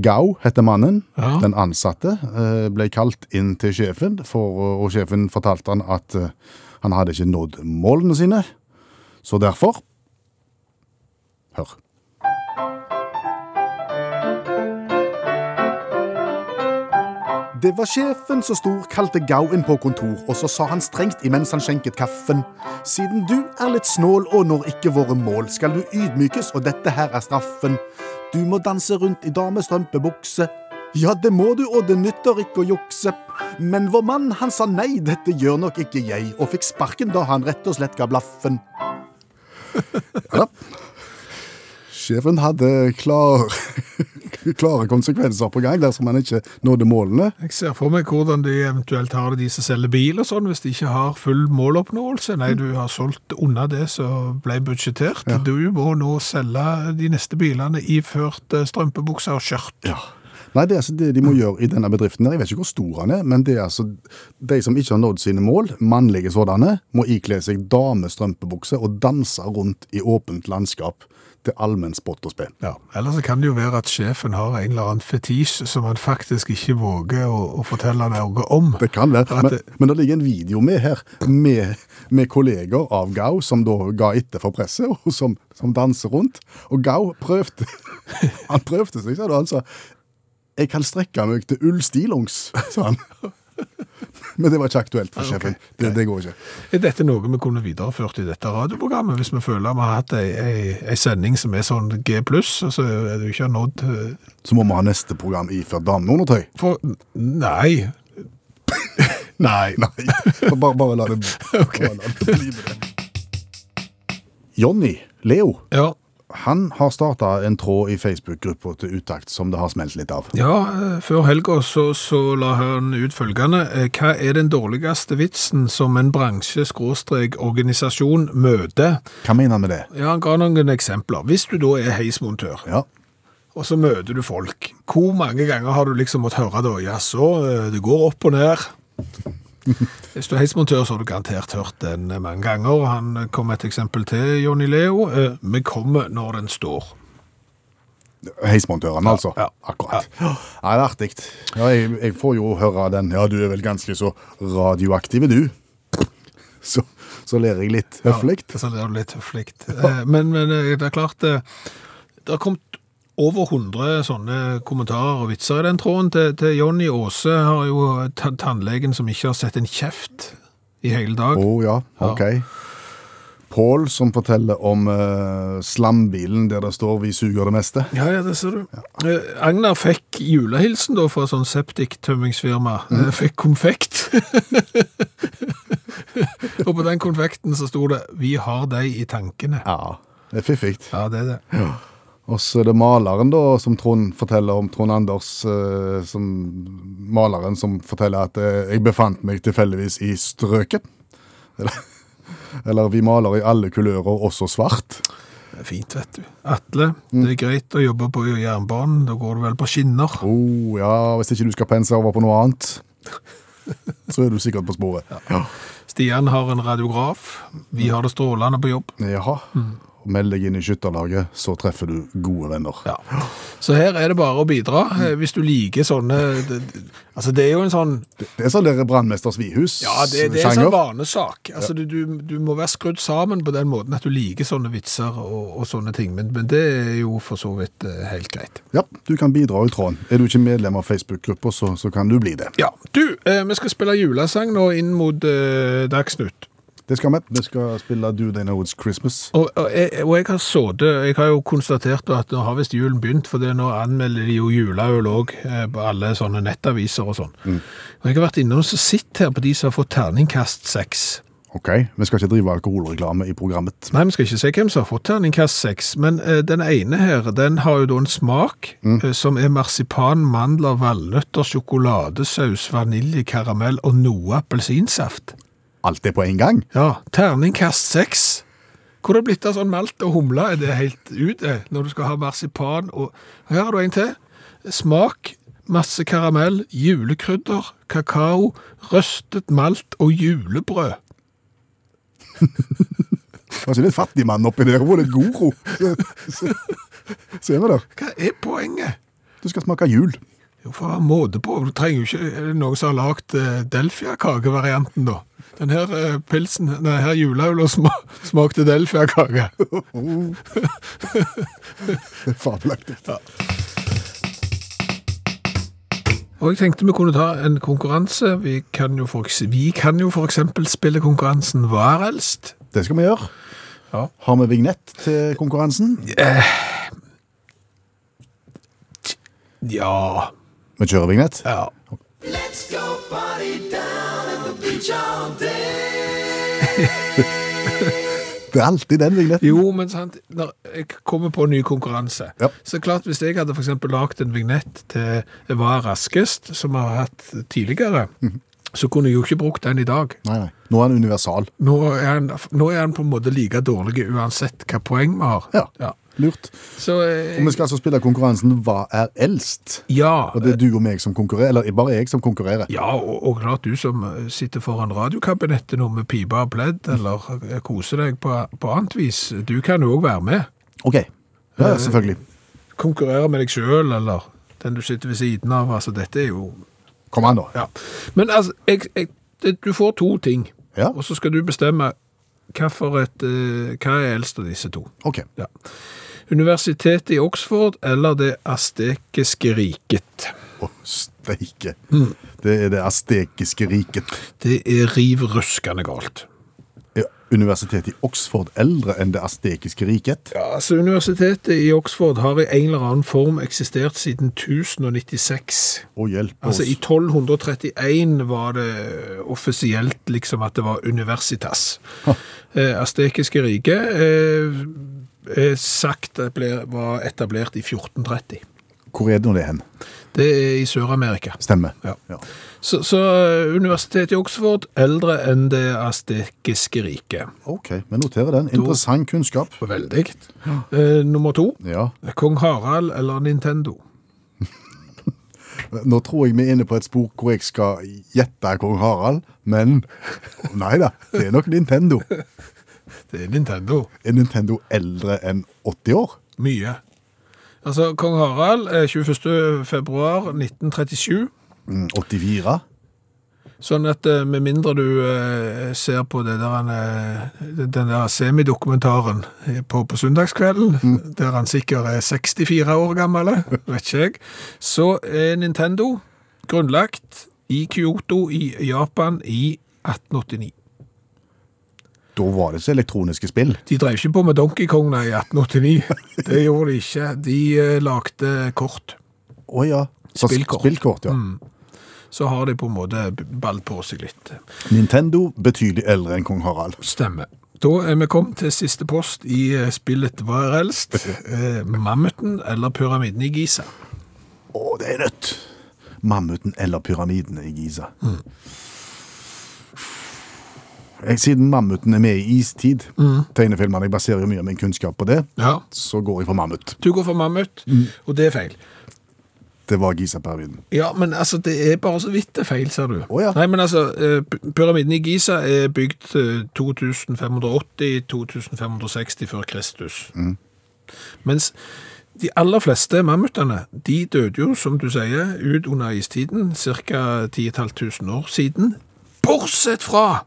[SPEAKER 3] Gau heter mannen.
[SPEAKER 2] Ja.
[SPEAKER 3] Den ansatte eh, ble kalt inn til sjefen, for, og sjefen fortalte han at eh, han hadde ikke nådd målene sine. Så derfor Hør. Det var sjefen som stor kalte Gau inn på kontor, og så sa han strengt imens han skjenket kaffen. Siden du er litt snål og når ikke våre mål, skal du ydmykes, og dette her er straffen. Du må danse rundt i damestrømpebukse. Ja, det må du, og det nytter ikke å jukse. Men vår mann, han sa nei, dette gjør nok ikke jeg, og fikk sparken da han rett og slett ga blaffen. Ja da. Sjefen hadde klar, klare konsekvenser på gang dersom han ikke nådde målene.
[SPEAKER 2] Jeg ser for meg hvordan de eventuelt har det, de som selger bil og sånn, hvis de ikke har full måloppnåelse. Nei, du har solgt unna det som ble budsjettert. Du må nå selge de neste bilene iført eh, strømpebukser og skjørt.
[SPEAKER 3] Nei, det er altså det de må gjøre i denne bedriften. her. Jeg vet ikke hvor stor han er, men det er altså de som ikke har nådd sine mål, mannlige sådanne, må ikle seg damestrømpebukse og danse rundt i åpent landskap til allmenn spott og spe.
[SPEAKER 2] Ja, Ellers så kan det jo være at sjefen har en eller annen fetisj som han faktisk ikke våger å, å fortelle noe om.
[SPEAKER 3] Det kan være,
[SPEAKER 2] At
[SPEAKER 3] men,
[SPEAKER 2] det-
[SPEAKER 3] men det ligger en video med her, med, med kolleger av Gau, som da ga etter for presset, og som, som danser rundt. Og Gau prøvde, han prøvde seg, sa du, han sa, jeg kan strekke meg til ullstilongs, sa han. Men det var ikke aktuelt for sjefen. Det, det går ikke.
[SPEAKER 2] Er dette noe vi kunne videreført i dette radioprogrammet, hvis vi føler vi har hatt ei, ei, ei sending som er sånn G pluss, altså er du ikke har nådd eh,
[SPEAKER 3] Så må vi ha neste program iført dameundertøy.
[SPEAKER 2] For Nei.
[SPEAKER 3] Nei, nei. Bare, bare la det, bare la det bli med det. Jonny Leo
[SPEAKER 2] Ja,
[SPEAKER 3] han har starta en tråd i Facebook-gruppa til Utakt som det har smelt litt av.
[SPEAKER 2] ja eh, før helga så, så la han ut følgende. eh, Hva er den dårligste vitsen som en bransje-organisasjon møter?
[SPEAKER 3] Hva mener han med det?
[SPEAKER 2] Ja, han ga noen eksempler. Hvis du da er heismontør,
[SPEAKER 3] Ja.
[SPEAKER 2] og så møter du folk, hvor mange ganger har du liksom måttet høre da, ja så, eh, det går opp og ned. Hvis du er heismontør, så har du garantert hørt den eh, mange ganger. Han eh, kom med et eksempel til, Jonny Leo. Eh, Vi kommer når den står.
[SPEAKER 3] Heismontøren, altså.
[SPEAKER 2] ja.
[SPEAKER 3] Akkurat. Ja, det er artig. Ja, jeg, jeg får jo høre den 'ja, du er vel ganske så radioaktiv, du'. Så, så ler jeg litt høflig.
[SPEAKER 2] Ja, så det er jo litt flikt. Eh, Men, men eh, det er klart, eh, det har kommet over 100 sånne kommentarer og vitser i den tråden. Til, til Jonny Aase har jo ta- tannlegen som ikke har sett en kjeft i hele dag.
[SPEAKER 3] Å ja, ok. Pål som forteller om eh, slambilen der det står 'vi suger det meste'.
[SPEAKER 2] Ja, ja, det ser du. Eh, Agnar fikk julehilsen da fra sånn septiktømmingsfirma.
[SPEAKER 3] Mm.
[SPEAKER 2] Eh, Fikk konfekt. og på den konfekten så sto det 'Vi har deg i tankene'.
[SPEAKER 3] Ja. Det er fiffig.
[SPEAKER 2] Ja, det er det.
[SPEAKER 3] Og så er det maleren da, som Trond forteller om Trond Anders, eh, som maleren som forteller at eh, jeg befant meg tilfeldigvis i strøket. Eller, eller vi maler i alle kulører, også svart.
[SPEAKER 2] Det er Fint, vet du. Atle, det er greit å jobbe på jernbanen. Da går du vel på skinner.
[SPEAKER 3] Oh, ja, hvis ikke du skal pense over på noe annet, så er du sikkert på sporet. Ja.
[SPEAKER 2] Stian har en radiograf. Vi har det strålende på jobb.
[SPEAKER 3] Jaha.
[SPEAKER 2] Mm.
[SPEAKER 3] Og Meld deg inn i skytterlaget, så treffer du gode venner.
[SPEAKER 2] Ja. Så her er det bare å bidra. eh, Hvis du liker sånne det- det- Altså, det er jo en sånn
[SPEAKER 3] Det er sånn der Brannmester Svihus
[SPEAKER 2] Ja, det, det er en sånn vanesak. Altså, du, du, du må være skrudd sammen på den måten at du liker sånne vitser og, og sånne ting. Men, men det er jo for så vidt eh, helt greit.
[SPEAKER 3] Ja, du kan bidra i tråden. Er du ikke medlem av Facebook-gruppa, så, så kan du bli det.
[SPEAKER 2] Ja, du, eh, vi skal spille julesang nå inn mot eh, Dagsnytt.
[SPEAKER 3] Det skal vi. Vi skal spille Do They Know It's Christmas.
[SPEAKER 2] Og, og, jeg, og jeg har sittet Jeg har jo konstatert at nå har visst julen begynt, for det nå anmelder de jo juleøl òg eh, på alle sånne nettaviser og sånn. Og jeg har vært innom og sett her på de som har fått terningkast seks.
[SPEAKER 3] Ok, vi skal ikke drive alkoholreklame i programmet.
[SPEAKER 2] Nei, vi skal ikke se hvem som har fått terningkast seks, men eh, den ene her, den har jo da en smak eh, som er marsipan, mandler, valnøtter, sjokoladesaus, vanilje, karamell og noe appelsinsaft.
[SPEAKER 3] Alt er på en gang.
[SPEAKER 2] Ja, terningkast seks. Hvor det er blitt av sånn malt og humle, er det helt ute når du skal ha marsipan og Her har du en til. Smak, masse karamell, julekrydder, kakao, røstet malt og julebrød.
[SPEAKER 3] Kanskje det er en fattig mann oppi der. Hun er litt goro. Så, så, så er vi der.
[SPEAKER 2] Hva er poenget?
[SPEAKER 3] Du skal smake jul.
[SPEAKER 2] Jo, for å ha måte på. Du trenger jo ikke er det noen som har lagd eh, Delfia-kakevarianten, da. Den her eh, pilsen, den her juleøla sma, smakte Delfia-kake.
[SPEAKER 3] Det er fabelaktig.
[SPEAKER 2] Og jeg tenkte vi kunne ta en konkurranse. Vi kan jo for, eks- vi kan jo for eksempel spille konkurransen Hva er eldst?
[SPEAKER 3] Det skal vi gjøre.
[SPEAKER 2] Ja.
[SPEAKER 3] Har vi vignett til konkurransen?
[SPEAKER 2] Ja.
[SPEAKER 3] Vi kjører vignett.
[SPEAKER 2] ja.
[SPEAKER 3] Det er alltid den vignetten.
[SPEAKER 2] Jo, men sant, når jeg kommer på en ny konkurranse,
[SPEAKER 3] Ja.
[SPEAKER 2] så klart hvis jeg hadde for eksempel lagt en vignett til Hva er raskest, som vi har hatt tidligere,
[SPEAKER 3] Mhm.
[SPEAKER 2] så kunne jeg jo ikke brukt den i dag.
[SPEAKER 3] Nei, nei. Nå er den universal.
[SPEAKER 2] Nå er, han, nå er han på en måte like dårlig uansett hva poeng vi har.
[SPEAKER 3] Ja. Lurt.
[SPEAKER 2] Så eh,
[SPEAKER 3] Og vi skal altså spille konkurransen Hva er eldst?
[SPEAKER 2] ja,
[SPEAKER 3] Og det er du og meg som konkurrerer, eller bare jeg som konkurrerer.
[SPEAKER 2] ja og, og klart du som eh, sitter foran radiokabinettet nå med pipa og pledd, eller eh, koser deg på, på annet vis, du kan jo også være med.
[SPEAKER 3] Ok. Ja, selvfølgelig.
[SPEAKER 2] Konkurrere med deg selv, eller den du sitter ved siden av. Altså, dette er jo
[SPEAKER 3] Kom an, da.
[SPEAKER 2] Ja. Men altså, jeg, jeg, det- du får to ting,
[SPEAKER 3] Ja,
[SPEAKER 2] og så skal du bestemme hva, for et, eh, hva er eldst av disse to.
[SPEAKER 3] ok.
[SPEAKER 2] Ja. Universitetet i Oxford eller Det astekiske riket?
[SPEAKER 3] Å, steike. Det er det astekiske riket.
[SPEAKER 2] Det er riv ruskende galt.
[SPEAKER 3] Er Universitetet i Oxford eldre enn det astekiske riket?
[SPEAKER 2] Ja, altså Universitetet i Oxford har i en eller annen form eksistert siden 1096.
[SPEAKER 3] Å, hjelpe oss.
[SPEAKER 2] Altså I 1231 var det offisielt liksom at det var universitas. Eh, Astekiske rike eh, er sagt at ble, var etablert i 1430.
[SPEAKER 3] Hvor er det nå det hen?
[SPEAKER 2] Det er i Sør-Amerika.
[SPEAKER 3] Stemmer.
[SPEAKER 2] Ja.
[SPEAKER 3] Ja.
[SPEAKER 2] Så, så eh, universitetet i Oxford eldre enn det astekiske riket.
[SPEAKER 3] Ok, vi noterer den. Interessant kunnskap.
[SPEAKER 2] Veldig. Eh, nummer to.
[SPEAKER 3] Ja,
[SPEAKER 2] Kong Harald eller Nintendo?
[SPEAKER 3] Nå tror jeg vi er inne på et spor hvor jeg skal gjette kong Harald, men nei da, det er nok Nintendo.
[SPEAKER 2] Det er Nintendo.
[SPEAKER 3] Er Nintendo eldre enn 80 år?
[SPEAKER 2] Mye. Altså, kong Harald, eh, 21. februar 1937,
[SPEAKER 3] Mm, 84?
[SPEAKER 2] sånn at eh, med mindre du eh, ser på det der, han, eh, den der semidokumentaren på, på søndagskvelden, der han sikkert er 64 år gammel, eh, vet ikke jeg, så er Nintendo grunnlagt i Kyoto i Japan i 1889.
[SPEAKER 3] Da var det ikke elektroniske spill.
[SPEAKER 2] De drev ikke på med Donkey Kong nei, i 1889. Det gjorde de ikke. De eh, lagde kort.
[SPEAKER 3] Å ja. Så
[SPEAKER 2] Spillkort. Mm.
[SPEAKER 3] Spillkort, ja.
[SPEAKER 2] Så har de på en måte ball på seg litt.
[SPEAKER 3] Nintendo betydelig eldre enn kong Harald.
[SPEAKER 2] Stemmer. Da er vi kommet til siste post i eh, spillet Hva er eldst? Eh, Mammuten eller pyramiden i Giza?
[SPEAKER 3] Å, det er nødt! Mammuten eller pyramidene i Giza. Jeg, siden mammuten er med i istid, tegnefilmene jeg baserer jo mye av min kunnskap på det,
[SPEAKER 2] Ja.
[SPEAKER 3] så går jeg for mammut.
[SPEAKER 2] Du går for mammut, og det er feil.
[SPEAKER 3] Det var Giza-pyramiden.
[SPEAKER 2] Ja, men altså, det er bare så vidt det er feil, ser du.
[SPEAKER 3] Å, ja.
[SPEAKER 2] Nei, men altså, eh, py- pyramiden i Giza er bygd eh, 2580-2560 før Kristus.
[SPEAKER 3] Mm.
[SPEAKER 2] Mens de aller fleste mammutene, de døde jo, som du sier, ut under istiden, ca. 10.500 år siden, bortsett fra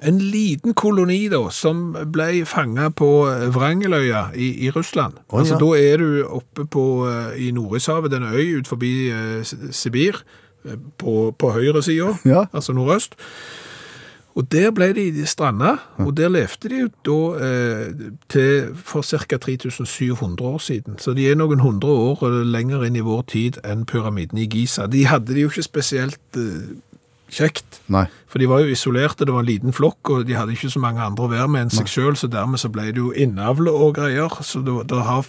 [SPEAKER 2] en liten koloni da, som ble fanget på Vrangeløya i, i Russland.
[SPEAKER 3] Å,
[SPEAKER 2] altså,
[SPEAKER 3] ja.
[SPEAKER 2] Da er du oppe på, eh, i Nordishavet, den øy ut forbi eh, S- Sibir, eh, på, på høyre siden,
[SPEAKER 3] Ja.
[SPEAKER 2] altså nordøst. Og der ble de stranda, og der levde de jo da eh, til for ca. 3700 år siden. Så de er noen hundre år eh, lenger inn i vår tid enn pyramiden i Giza. De hadde det jo ikke spesielt eh, kjekt,
[SPEAKER 3] Nei.
[SPEAKER 2] for de var jo isolerte, det var en liten flokk, og de hadde ikke så mange andre å være med enn seg sjøl, så dermed så ble det jo innavle og greier. Så det, var- det har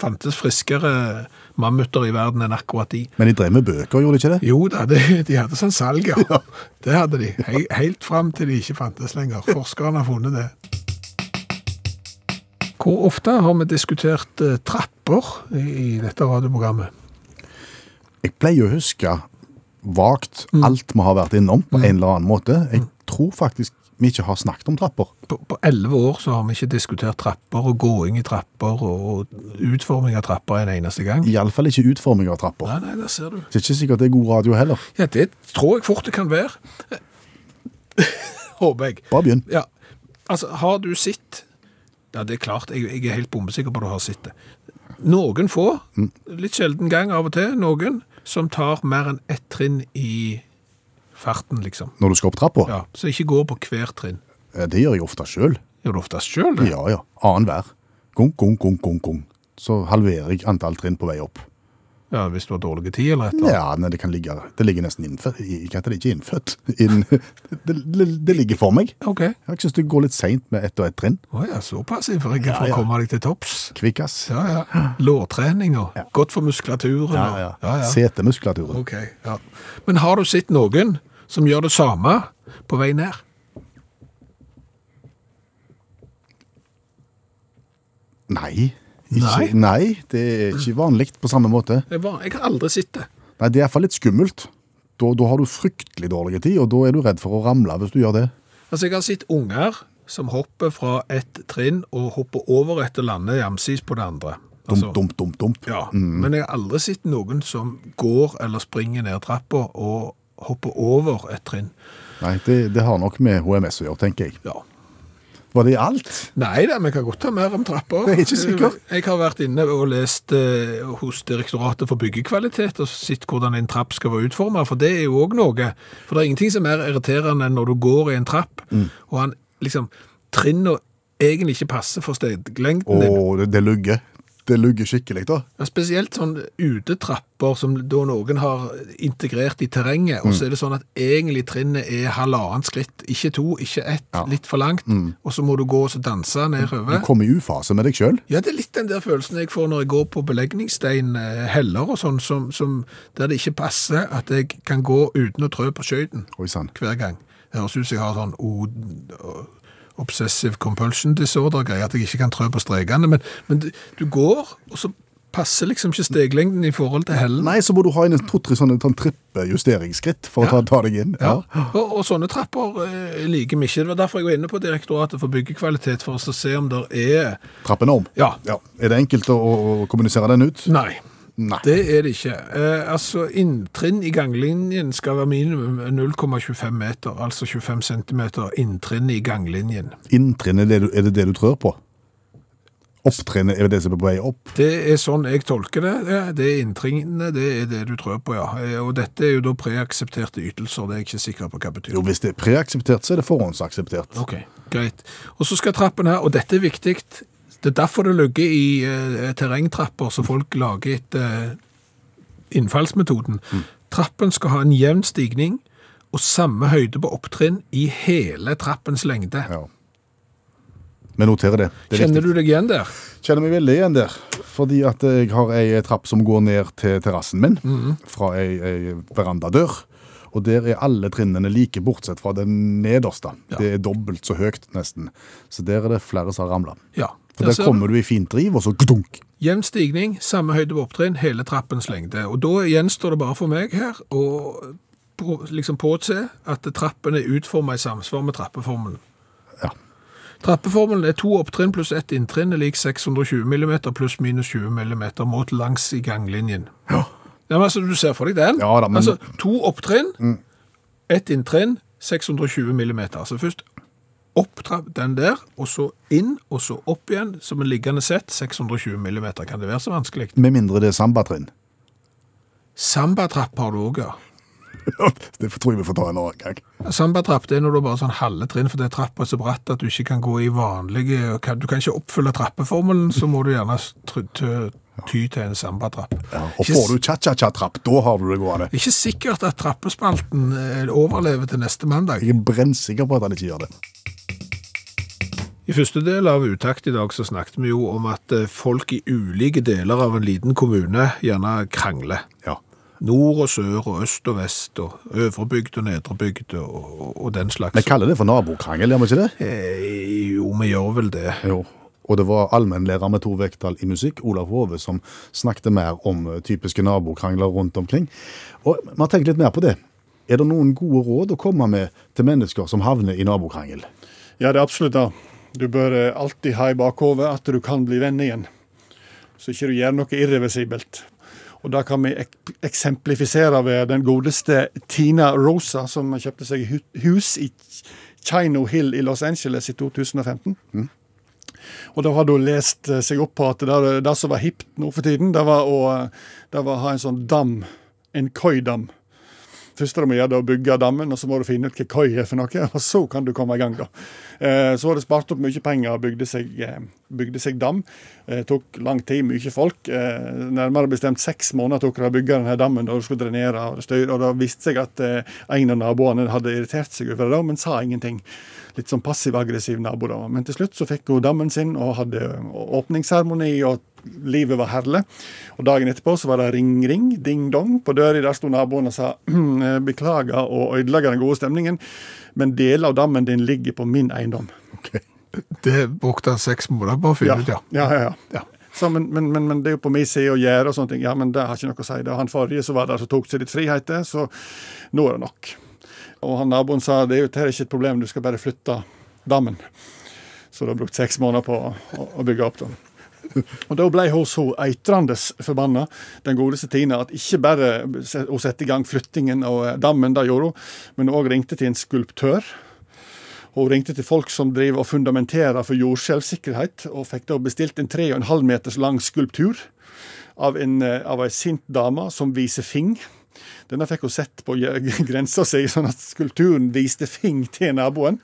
[SPEAKER 2] fantes friskere mammuter i verden enn akkurat de.
[SPEAKER 3] Men de drev med bøker, gjorde de ikke det?
[SPEAKER 2] Jo da, det, de hadde sånn salg, ja. Det hadde de. He, helt fram til de ikke fantes lenger. Forskerne har funnet det. Hvor ofte har vi diskutert eh, trapper i, i dette radioprogrammet?
[SPEAKER 3] Jeg pleier å huske vagt alt vi har vært innom på en eller annen måte. Jeg tror faktisk vi ikke har snakket om trapper.
[SPEAKER 2] På- På elleve år så har vi ikke diskutert trapper og gåing i trapper og og utforming av trapper en eneste gang.
[SPEAKER 3] Iallfall ikke utforming av trapper.
[SPEAKER 2] Nei, nei, der ser du.
[SPEAKER 3] Det er ikke sikkert det er god radio heller.
[SPEAKER 2] Ja, det tror jeg fort det kan være. Håper jeg.
[SPEAKER 3] Bare begynn.
[SPEAKER 2] Ja, altså, har du sett Ja, det er klart, jeg, jeg er helt bombesikker på at du har sett det. Noen få, litt sjelden gang av og til, noen som tar mer enn ett trinn i farten, liksom.
[SPEAKER 3] Når du skal opp trappa.
[SPEAKER 2] Ja, Så ikke går på hver trinn.
[SPEAKER 3] Eh, Det gjør jeg ofte sjøl.
[SPEAKER 2] Gjør du oftest sjøl det?
[SPEAKER 3] Ja ja. Annenhver. Gung, gung, gung, gung, gung. Så halverer jeg antall trinn på vei opp.
[SPEAKER 2] Ja, Hvis du har dårlig tid eller et eller annet.
[SPEAKER 3] Ja, nei, det kan ligge Det ligger nesten innfødt. Ikke at det ikke er innfødt. Inn, det, det, det ligger for meg.
[SPEAKER 2] OK.
[SPEAKER 3] Jeg syns det går litt seint med ett og ett trinn.
[SPEAKER 2] Å ja, såpass ivrige for
[SPEAKER 3] ja.
[SPEAKER 2] å komme deg til topps.
[SPEAKER 3] Kvikkas.
[SPEAKER 2] Ja, ja. Lårtreninga. Godt for muskulaturen.
[SPEAKER 3] Ja,
[SPEAKER 2] og-
[SPEAKER 3] ja.
[SPEAKER 2] Ja, ja.
[SPEAKER 3] Setemuskulaturen.
[SPEAKER 2] Ok, ja. Men har du sett noen som gjør det samme på vei ned?
[SPEAKER 3] Nei. Ikke,
[SPEAKER 2] Nei?
[SPEAKER 3] nei. det er ikke vanlig på samme måte.
[SPEAKER 2] Jeg, var, jeg har aldri sett det.
[SPEAKER 3] Nei, Det er iallfall litt skummelt. Da, da har du fryktelig dårlig tid, og da er du redd for å ramle hvis du gjør det.
[SPEAKER 2] Altså, jeg har sett unger som hopper fra et trinn og hopper over et og lander jamsis på det andre.
[SPEAKER 3] Dump,
[SPEAKER 2] Altså,
[SPEAKER 3] dump, dump, dump.
[SPEAKER 2] Ja, men jeg har aldri sett noen som går eller springer ned trappa og hopper over et trinn.
[SPEAKER 3] Nei, det, det har nok med HMS å gjøre, tenker jeg.
[SPEAKER 2] Ja.
[SPEAKER 3] Var det alt?
[SPEAKER 2] Nei da, vi kan godt ta mer om trapper.
[SPEAKER 3] Jeg er ikke sikker.
[SPEAKER 2] Jeg har vært inne og lest eh, hos Direktoratet for byggekvalitet og sett hvordan en trapp skal være
[SPEAKER 3] Mm.
[SPEAKER 2] utformet, for det er jo òg noe. For det er ingenting som er mer irriterende enn når du går i en trapp, og han liksom trinnene egentlig ikke passer for steglengden din.
[SPEAKER 3] Å, det, det lugger. Det lugger skikkelig, da.
[SPEAKER 2] Ja, spesielt sånn utetrapper som da noen har integrert i terrenget,
[SPEAKER 3] Mm.
[SPEAKER 2] og så er det sånn at egentlig trinnet er halvannet skritt, ikke to, ikke ett, litt for langt,
[SPEAKER 3] Mm.
[SPEAKER 2] og så må du gå og så danse
[SPEAKER 3] Du
[SPEAKER 2] nedover.
[SPEAKER 3] kommer i ufase med deg sjøl.
[SPEAKER 2] Ja, det er litt den der følelsen jeg får når jeg går på belegningsstein, eh, heller og sånn, som, som, der det ikke passer at jeg kan gå uten å trø på skøyten
[SPEAKER 3] Oi sann.
[SPEAKER 2] hver gang. Det høres ut som jeg har sånn o- obsessive compulsion disorder-greie, at jeg ikke kan trø på strekene, men, men du, du går, og så passer liksom ikke steglengden i forhold til hellen.
[SPEAKER 3] Nei, så må du ha inn en to-tre sånne sånn trippejusteringsskritt for å ta, ta deg inn.
[SPEAKER 2] Ja. Og, og sånne trapper eh, liker vi ikke. Det var derfor jeg var inne på direktoratet for byggekvalitet, for å se om det er
[SPEAKER 3] Trappen om.
[SPEAKER 2] Ja.
[SPEAKER 3] Er det enkelt å, å kommunisere den ut?
[SPEAKER 2] Nei.
[SPEAKER 3] Nei.
[SPEAKER 2] Det er det ikke. Eh, altså, Inntrinn i ganglinjen skal være minimum 0,25 meter, altså 25 cm inntrinn i ganglinjen.
[SPEAKER 3] Inntrinnet, det du- er det det du trør på? Opptrinnet er det som er på vei opp?
[SPEAKER 2] Det er sånn jeg tolker det. Det- Det er inntrinnet, det er det du trør på, ja. Eh, Og dette er jo da preaksepterte ytelser, det er jeg ikke sikker på hva betyr.
[SPEAKER 3] Jo, hvis det er preakseptert, så er det forhåndsakseptert.
[SPEAKER 2] Ok, greit. Og så skal trappen her, og dette er viktig, det er derfor det ligger i eh, terrengtrapper som folk lager etter eh, innfallsmetoden.
[SPEAKER 3] Mm.
[SPEAKER 2] Trappen skal ha en jevn stigning og samme høyde på opptrinn i hele trappens lengde.
[SPEAKER 3] Ja. Vi noterer det. det er
[SPEAKER 2] Kjenner
[SPEAKER 3] viktig.
[SPEAKER 2] du deg igjen der?
[SPEAKER 3] Kjenner meg veldig igjen der. Fordi at jeg har ei trapp som går ned til terrassen min
[SPEAKER 2] Mhm.
[SPEAKER 3] fra ei, ei verandadør. Og der er alle trinnene like, bortsett fra den nederste.
[SPEAKER 2] Ja.
[SPEAKER 3] Det er dobbelt så høyt, nesten. Så der er det flere som har ramla.
[SPEAKER 2] Ja. Der
[SPEAKER 3] For der
[SPEAKER 2] ser du.
[SPEAKER 3] kommer du i fint driv, og så gdunk.
[SPEAKER 2] Jevn stigning, samme høyde på opptrinn, hele trappens lengde. Og da gjenstår det bare for meg her å på- liksom påse at trappen er utformet i samsvar med trappeformelen.
[SPEAKER 3] Ja.
[SPEAKER 2] Trappeformelen er to opptrinn pluss ett inntrinn er lik 620 mm pluss minus 20 mm målt langs i ganglinjen.
[SPEAKER 3] Ja.
[SPEAKER 2] Ja, men altså, du ser for deg den.
[SPEAKER 3] Ja da, men-
[SPEAKER 2] Altså, to opptrinn, ett inntrinn, 620 mm. Altså først opp tra- den der, og så inn, og så opp igjen, som en liggende sett, 620 mm. Kan det være så vanskelig?
[SPEAKER 3] Med mindre det er sambatrinn.
[SPEAKER 2] Sambatrapp har du òg, ja.
[SPEAKER 3] det tror jeg vi får ta en annen gang.
[SPEAKER 2] Sambatrapp det er når du bare har sånn halve trinn, for det er trappa er så bratt at du ikke kan gå i vanlige kan- Du kan ikke oppfylle trappeformelen, så må du gjerne tr- tø- ty til en sambatrapp.
[SPEAKER 3] Og
[SPEAKER 2] Ikke
[SPEAKER 3] får du cha-cha-cha-trapp, da har du det gående.
[SPEAKER 2] Det er ikke sikkert at trappespalten eh, overlever til neste mandag.
[SPEAKER 3] Jeg er brennsikker på at han ikke gjør det.
[SPEAKER 2] I første del av Utakt i dag så snakket vi jo om at eh, folk i ulike deler av en liten kommune gjerne krangler.
[SPEAKER 3] Ja.
[SPEAKER 2] Nord og sør og øst og vest og øvre bygd og nedre bygd og, og, og den slags.
[SPEAKER 3] Vi kaller det for nabokrangel, gjør vi ikke det?
[SPEAKER 2] Eh, jo, vi gjør vel det.
[SPEAKER 3] Jo. Og det var allmennlærer med to vekttall i musikk, Olav Hove, som snakket mer om eh, typiske nabokrangler rundt omkring. Og vi har tenkt litt mer på det. Er det noen gode råd å komme med til mennesker som havner i nabokrangel?
[SPEAKER 5] Ja, det er absolutt det. Du bør eh, alltid ha i bakhodet at du kan bli venn igjen, så ikke du gjør noe irreversibelt. Og da kan vi ek eksemplifisere ved den godeste Tina Rosa, som kjøpte seg hu hus i Ch- Chino Hill i Los Angeles i 2015. Og da hadde hun lest eh, seg opp på at det, det som var hipt nå for tiden, det var å eh, det var å ha en sånn dam, en koidam. Først må du må gjøre det å bygge dammen, og så må du finne ut hva koi er for noe, og så kan du komme i gang, da. Eh, Så har det spart opp mye penger og bygde seg, eh, bygde seg dam. Eh, tok lang tid, mye folk. Eh, nærmere bestemt seks måneder tok det å bygge denne dammen, og du skulle drenere og styre, og det viste seg at eh, en av naboene hadde irritert seg over det, da, men sa ingenting. Litt sånn passiv-aggressiv nabo, da. Men til slutt så fikk hun dammen sin og hadde åpningsseremoni. og Livet var herlig. Og dagen etterpå så var det ring-ring, ding-dong. På døra der sto naboen og sa beklager og ødelegger den gode stemningen, men deler av dammen din ligger på min eiendom.
[SPEAKER 2] Det brukte han seks måneder på å finne ut, ja.
[SPEAKER 5] ja, ja, ja. Så, men, men, men, men det er jo på min side å gjøre og sånne ting. Ja, men det har ikke noe å si. Det var han forrige som var der som tok seg litt friheter, så nå er det nok. Og han naboen sa det er jo dette er ikke et problem, du skal bare flytte dammen. Så du har brukt seks måneder på å, å- å bygge opp den. Og da ble hun så eitrende forbanna, den godeste Tina, at ikke bare se- hun satte i gang flyttingen av eh, dammen, det gjorde hun, men hun òg ringte til en skulptør. Hun ringte til folk som driver og fundamenterer for jordskjelvsikkerhet, og fikk da bestilt en 3,5 meters lang skulptur av en, eh, av ei sint dame som viser fing. Denne fikk hun sett på gje- grensa si, sånn at skulpturen viste fing til naboen.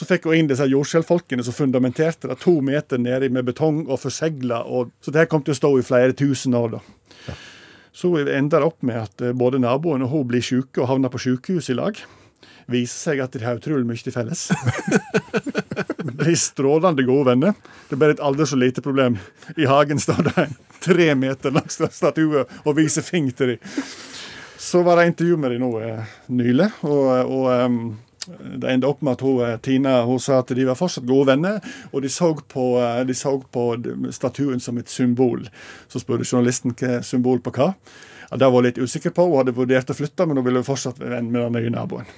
[SPEAKER 5] Så fikk hun inn disse jordskjelvfolkene som fundamenterte det to meter nedi med betong og forsegla. Og, så det her kom til å stå i flere tusen år, da. Så ender det opp med at eh, både naboen og hun blir syke og havner på sykehus i lag. Viser seg at de har utrolig mye til felles. blir strålende gode venner. Det er bare et aldri så lite problem. I hagen står det en tre meter lang statue og viser fing til dem. Så var det intervju med dem nå eh, nylig, og, eh, og em, det endte opp med at hun, eh, Tina hun sa at de var fortsatt gode venner, og de så på, eh, de så på d- statuen som et symbol. Så spurte journalisten hva symbol på hva. Ja, det var hun litt usikker på, hun hadde vurdert å flytte, men hun ville fortsatt være venn med den nye naboen.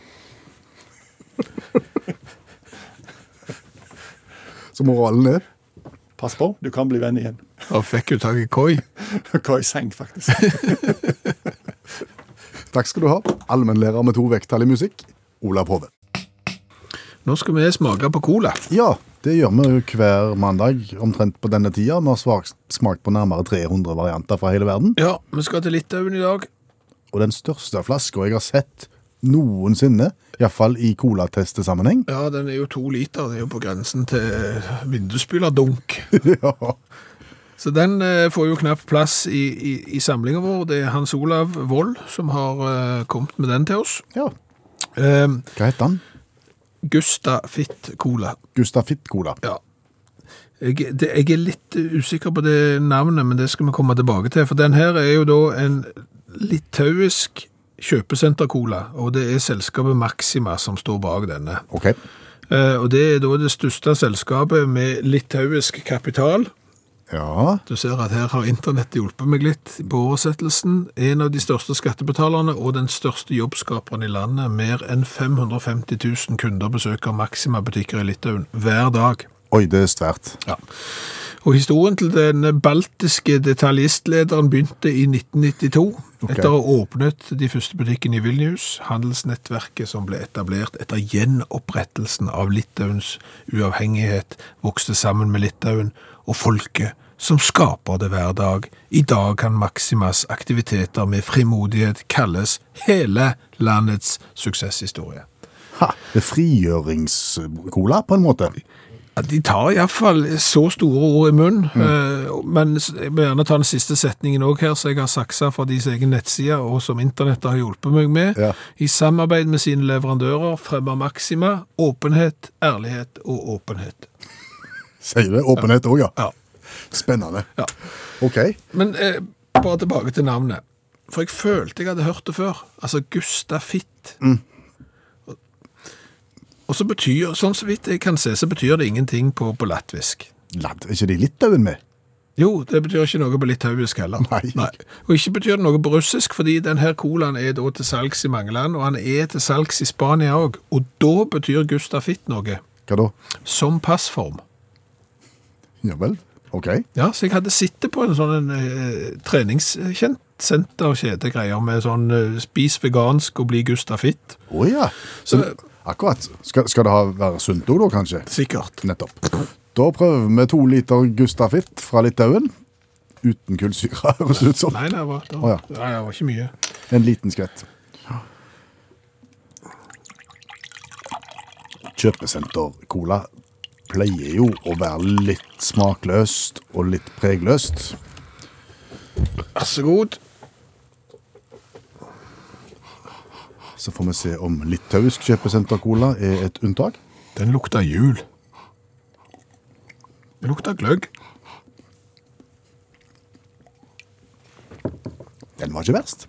[SPEAKER 3] Så moralen er
[SPEAKER 5] Pass på, du kan bli venn igjen.
[SPEAKER 2] Og fikk jo tak i koi.
[SPEAKER 5] Hva i seng, faktisk.
[SPEAKER 3] Takk skal du ha, allmennlærer med to vekttall i musikk, Olav Hove.
[SPEAKER 2] Nå skal vi smake på cola.
[SPEAKER 3] Ja, det gjør vi jo hver mandag omtrent på denne tida. Vi har svak- smakt på nærmere 300 varianter fra hele verden.
[SPEAKER 2] Ja, vi skal til Litauen i dag.
[SPEAKER 3] Og den største flaska jeg har sett noensinne, iallfall i colatestesammenheng
[SPEAKER 2] Ja, den er jo to liter. Det er jo på grensen til vindusspylerdunk.
[SPEAKER 3] ja.
[SPEAKER 2] Så den eh, får jo knapt plass i, i, i samlinga vår. Det er Hans Olav Vold som har eh, kommet med den til oss.
[SPEAKER 3] ja.
[SPEAKER 2] Eh,
[SPEAKER 3] Hva heter han?
[SPEAKER 2] Gusta Fitt Cola.
[SPEAKER 3] Gustav Fitt-cola.
[SPEAKER 2] Ja. Jeg, det, jeg er litt usikker på det navnet, men det skal vi komme tilbake til. For den her er jo da en litauisk kjøpesenter-cola, og det er selskapet Maxima som står bak denne.
[SPEAKER 3] Ok.
[SPEAKER 2] Eh, Og det er da det største selskapet med litauisk kapital.
[SPEAKER 3] Ja.
[SPEAKER 2] Du ser at her har internettet hjulpet meg litt på oversettelsen. En av de største skattebetalerne og den største jobbskaperen i landet. Mer enn 550 000 kunder besøker Maxima-butikker i Litauen hver dag.
[SPEAKER 3] Oi, det er svært.
[SPEAKER 2] Og historien til den baltiske detaljistlederen begynte i 1992,
[SPEAKER 3] Ok.
[SPEAKER 2] etter å ha åpnet de første butikkene i Vilnius, handelsnettverket som ble etablert etter gjenopprettelsen av Litauens uavhengighet, vokste sammen med Litauen og folket som skaper det hver dag. I dag kan Maximas aktiviteter med frimodighet kalles hele landets suksesshistorie.
[SPEAKER 3] Ha, det er frigjøringscola, på en måte.
[SPEAKER 2] Ja, De tar iallfall så store ord i munnen. eh, Men s- jeg må gjerne ta den siste setningen òg her, så jeg har saksa fra deres egen nettside, og som internettet har hjulpet meg med.
[SPEAKER 3] Ja.
[SPEAKER 2] I samarbeid med sine leverandører fremmer Maxima åpenhet, ærlighet og åpenhet.
[SPEAKER 3] Sier det. Åpenhet òg, ja.
[SPEAKER 2] Ja.
[SPEAKER 3] Spennende.
[SPEAKER 2] Ja.
[SPEAKER 3] Ok.
[SPEAKER 2] Men eh, bare tilbake til navnet. For jeg følte jeg hadde hørt det før. Altså Gustafitt. Og så betyr, sånn så vidt jeg kan se, så betyr det ingenting på, på latvisk.
[SPEAKER 3] Ladd, er ikke de Litauen med?
[SPEAKER 2] Jo, det betyr ikke noe på litauisk heller.
[SPEAKER 3] Nei.
[SPEAKER 2] Og ikke betyr det noe på russisk, fordi denne colaen er da til salgs i mange land, og han er til salgs i Spania òg. Og da betyr Gustafitt noe,
[SPEAKER 3] Hva da?
[SPEAKER 2] som passform.
[SPEAKER 3] Ja vel. Ok.
[SPEAKER 2] Ja, Så jeg hadde sittet på en sånn eh, treningssenterkjedegreier med sånn eh, spis vegansk og bli Gustafitt.
[SPEAKER 3] Å ja. Så, akkurat. Skal, skal det ha være sunt òg, da, kanskje?
[SPEAKER 2] Sikkert.
[SPEAKER 3] Nettopp. Da prøver vi to liter Gustafitt fra Litauen. Uten kullsyre, høres det ut som.
[SPEAKER 2] Nei, det var, det
[SPEAKER 3] Å,
[SPEAKER 2] var,
[SPEAKER 3] ja.
[SPEAKER 2] nei, det var ikke mye.
[SPEAKER 3] En liten skvett. Kjøpesenter-cola pleier jo å være litt smakløst og litt pregløst.
[SPEAKER 2] Vær så god.
[SPEAKER 3] Så får vi se om litauisk kjøpesenter-cola er et unntak.
[SPEAKER 2] Den lukter jul. Det lukter gløgg.
[SPEAKER 3] Den var ikke verst.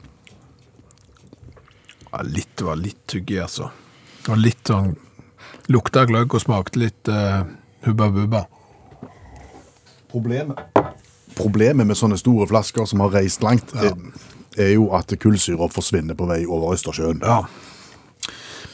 [SPEAKER 2] Ja, litt, det var litt tygge, altså. Og litt sånn Lukta gløgg og smakte litt eh, hubba bubba.
[SPEAKER 3] Problemet Problemet med sånne store flasker som har reist langt, er, er jo at kullsyra forsvinner på vei over Østersjøen.
[SPEAKER 2] Ja.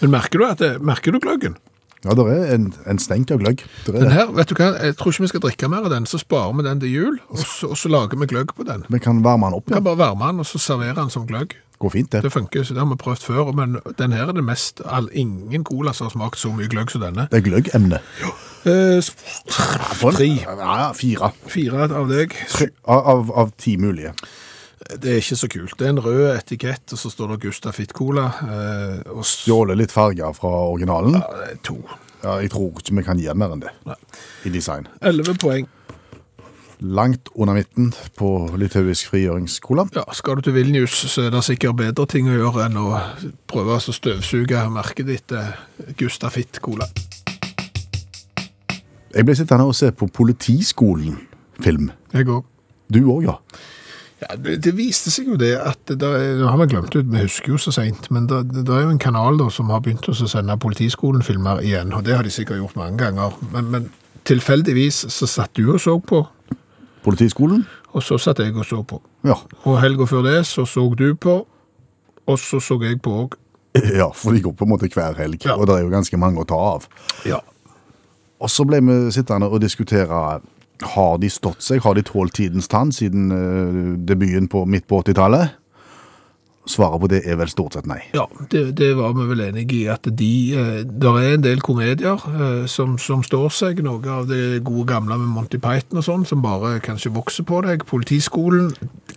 [SPEAKER 2] Men merker du, at det, merker du gløggen?
[SPEAKER 3] Ja, det er en, en stenk av gløgg. Der er
[SPEAKER 2] Den
[SPEAKER 3] det.
[SPEAKER 2] her, vet du hva, Jeg tror ikke vi skal drikke mer av den, så sparer vi den til jul, og så, og så lager vi gløgg på den.
[SPEAKER 3] Vi kan varme den opp.
[SPEAKER 2] Vi
[SPEAKER 3] Ja.
[SPEAKER 2] kan bare varme den og så servere den som gløgg.
[SPEAKER 3] Går fint, det.
[SPEAKER 2] Det funker, så det har vi prøvd før, men den her er det mest all, Ingen cola som har smakt så mye gløgg som denne.
[SPEAKER 3] Det er gløggemne.
[SPEAKER 2] Eh,
[SPEAKER 3] Tre. Ja, fire.
[SPEAKER 2] fire av deg.
[SPEAKER 3] Tre, av, av, av ti mulige.
[SPEAKER 2] Det er ikke så kult. Det er en rød etikett, og så står det Gustav Fitt-cola. eh, Og s-
[SPEAKER 3] Stjålet litt farger fra originalen.
[SPEAKER 2] Ja, det er to.
[SPEAKER 3] Ja, jeg tror ikke vi kan gi den mer enn det i design.
[SPEAKER 2] Elleve poeng.
[SPEAKER 3] Langt under midten på litauisk frigjøringskola.
[SPEAKER 2] Ja, skal du til Vilnius, så er det sikkert bedre ting å gjøre enn å prøve å støvsuge merket ditt eh, Gustav Fitt-cola.
[SPEAKER 3] Jeg ble sittende og se på Politiskolen-film.
[SPEAKER 2] Jeg òg.
[SPEAKER 3] Du òg, ja.
[SPEAKER 2] Ja, det, det viste seg jo det at det, er- Nå har vi glemt det, vi husker jo så seint. Men det, det er jo en kanal da som har begynt å sende Politiskolen-filmer igjen. Og det har de sikkert gjort mange ganger. Men, men tilfeldigvis så satt du og så på,
[SPEAKER 3] Politiskolen?
[SPEAKER 2] og så satt jeg og så på.
[SPEAKER 3] Ja.
[SPEAKER 2] Og helga før det så så du på, og så så jeg på òg.
[SPEAKER 3] ja, for de går på en måte hver helg,
[SPEAKER 2] Ja.
[SPEAKER 3] og det er jo ganske mange å ta av.
[SPEAKER 2] Ja.
[SPEAKER 3] Og så ble vi sittende og diskutere har de stått seg, har de tålt tidens tann siden eh, debuten på midt på 80-tallet? Svaret på det er vel stort sett nei.
[SPEAKER 2] Ja, det, det var vi vel enige i, at de eh, Der er en del komedier eh, som, som står seg. Noe av det gode gamle med Monty Python og sånn, som bare kanskje vokser på deg. Politiskolen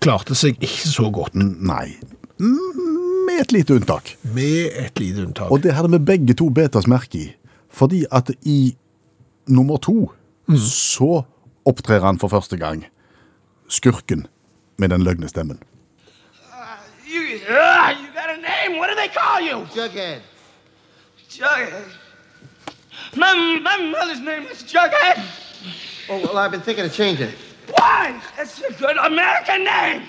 [SPEAKER 2] klarte seg ikke så godt,
[SPEAKER 3] N- Nei. Mm, Med et lite unntak.
[SPEAKER 2] med et lite unntak.
[SPEAKER 3] Og det hadde vi begge to bet oss merke i. Fordi at i nummer to så opptrer han for første gang skurken med den løgne stemmen.
[SPEAKER 6] You, ugh, you got a name. What do they call you? Jughead. Jughead. My, my mother's name is Jughead.
[SPEAKER 7] Oh, well, I've been thinking of changing it.
[SPEAKER 6] Why? It's a good American name.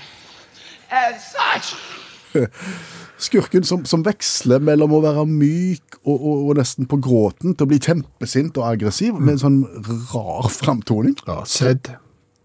[SPEAKER 6] As such,
[SPEAKER 3] Skurken som, som veksler mellom å være myk og, og, og nesten på gråten til å bli kjempesint og aggressiv, med en sånn rar framtoning.
[SPEAKER 2] Ja, Zed.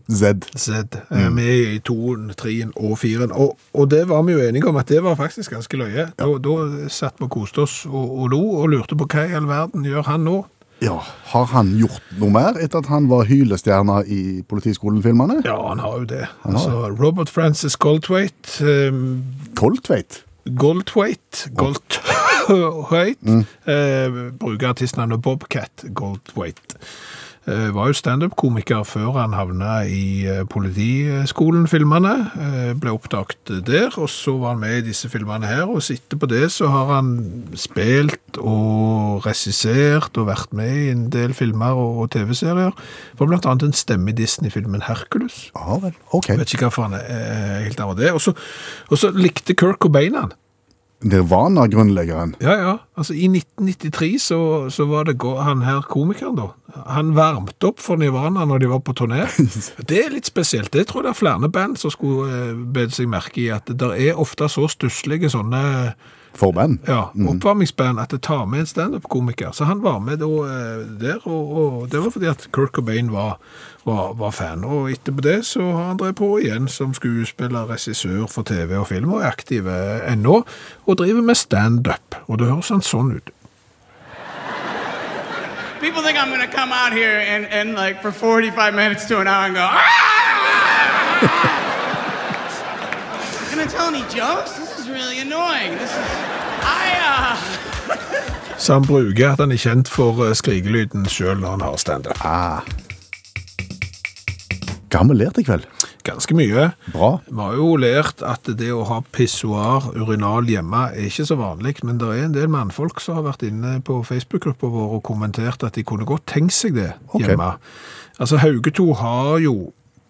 [SPEAKER 3] Zed.
[SPEAKER 2] Zed.
[SPEAKER 3] Mm.
[SPEAKER 2] eh, Med i toen, treen og firen. Og, og det var vi jo enige om at det var faktisk ganske løye. Da, da satt vi og koste oss og, og lo og lurte på hva i all verden gjør han nå?
[SPEAKER 3] Ja, Har han gjort noe mer etter at han var hylestjerna i Politiskolen-filmene?
[SPEAKER 2] Ja, han har jo det.
[SPEAKER 3] Han har
[SPEAKER 2] altså, Robert Francis Goldthwait, ehm,
[SPEAKER 3] Koldtveit?
[SPEAKER 2] Goldthwait, Goldthwait, eh, bruker artistnavnet Bobcat Goldthwait. Eh, var jo stand-up-komiker før han havna i eh, politiskolen-filmene. Eh, ble oppdaget der, og så var han med i disse filmene her. Og så etterpå det så har han spilt og regissert og vært med i en del filmer og, og TV-serier. Var blant annet en stemme i Disney-filmen Hercules.
[SPEAKER 3] Ja vel. OK.
[SPEAKER 2] Jeg vet ikke hvorfor han er eh, helt av det. Og så- Og så likte Kirk Cobain han.
[SPEAKER 3] Nirvana-grunnleggeren.
[SPEAKER 2] Ja, ja. Altså, I 1993 så, så var det gå- han her komikeren, da. Han varmte opp for Nirvana når de var på turné. Det er litt spesielt. Det tror jeg det er flere band som skulle eh, bedt seg merke i. At det er ofte så stusslige sånne
[SPEAKER 3] Forband.
[SPEAKER 2] ja, oppvarmingsband at det tar med en standup-komiker. Så han var med da, eh, der, og, og det var fordi at Kirk Cobain var, var, var fan. Og etterpå det så har han drevet på igjen som skuespiller, regissør for TV og film, og er aktiv eh, ennå, og driver med standup. Og det høres han sånn ut.
[SPEAKER 8] People think I'm gonna come out here and, and like for 45 minutes to an hour and go, "Ah!" Can I tell any jokes? This is really annoying. This is, I, uh,
[SPEAKER 2] Så han bruker at han er kjent for eh, skrikelyden sjøl når han har standup.
[SPEAKER 3] Ah. Hva har vi lært i kveld?
[SPEAKER 2] Ganske mye.
[SPEAKER 3] Bra.
[SPEAKER 2] Vi har jo lært at det å ha pissoar, urinal hjemme, er ikke så vanlig, men det er en del mannfolk som har vært inne på Facebook-gruppa vår og kommentert at de kunne godt tenkt seg det
[SPEAKER 3] Ok.
[SPEAKER 2] hjemme. Altså, Hauge 2 har jo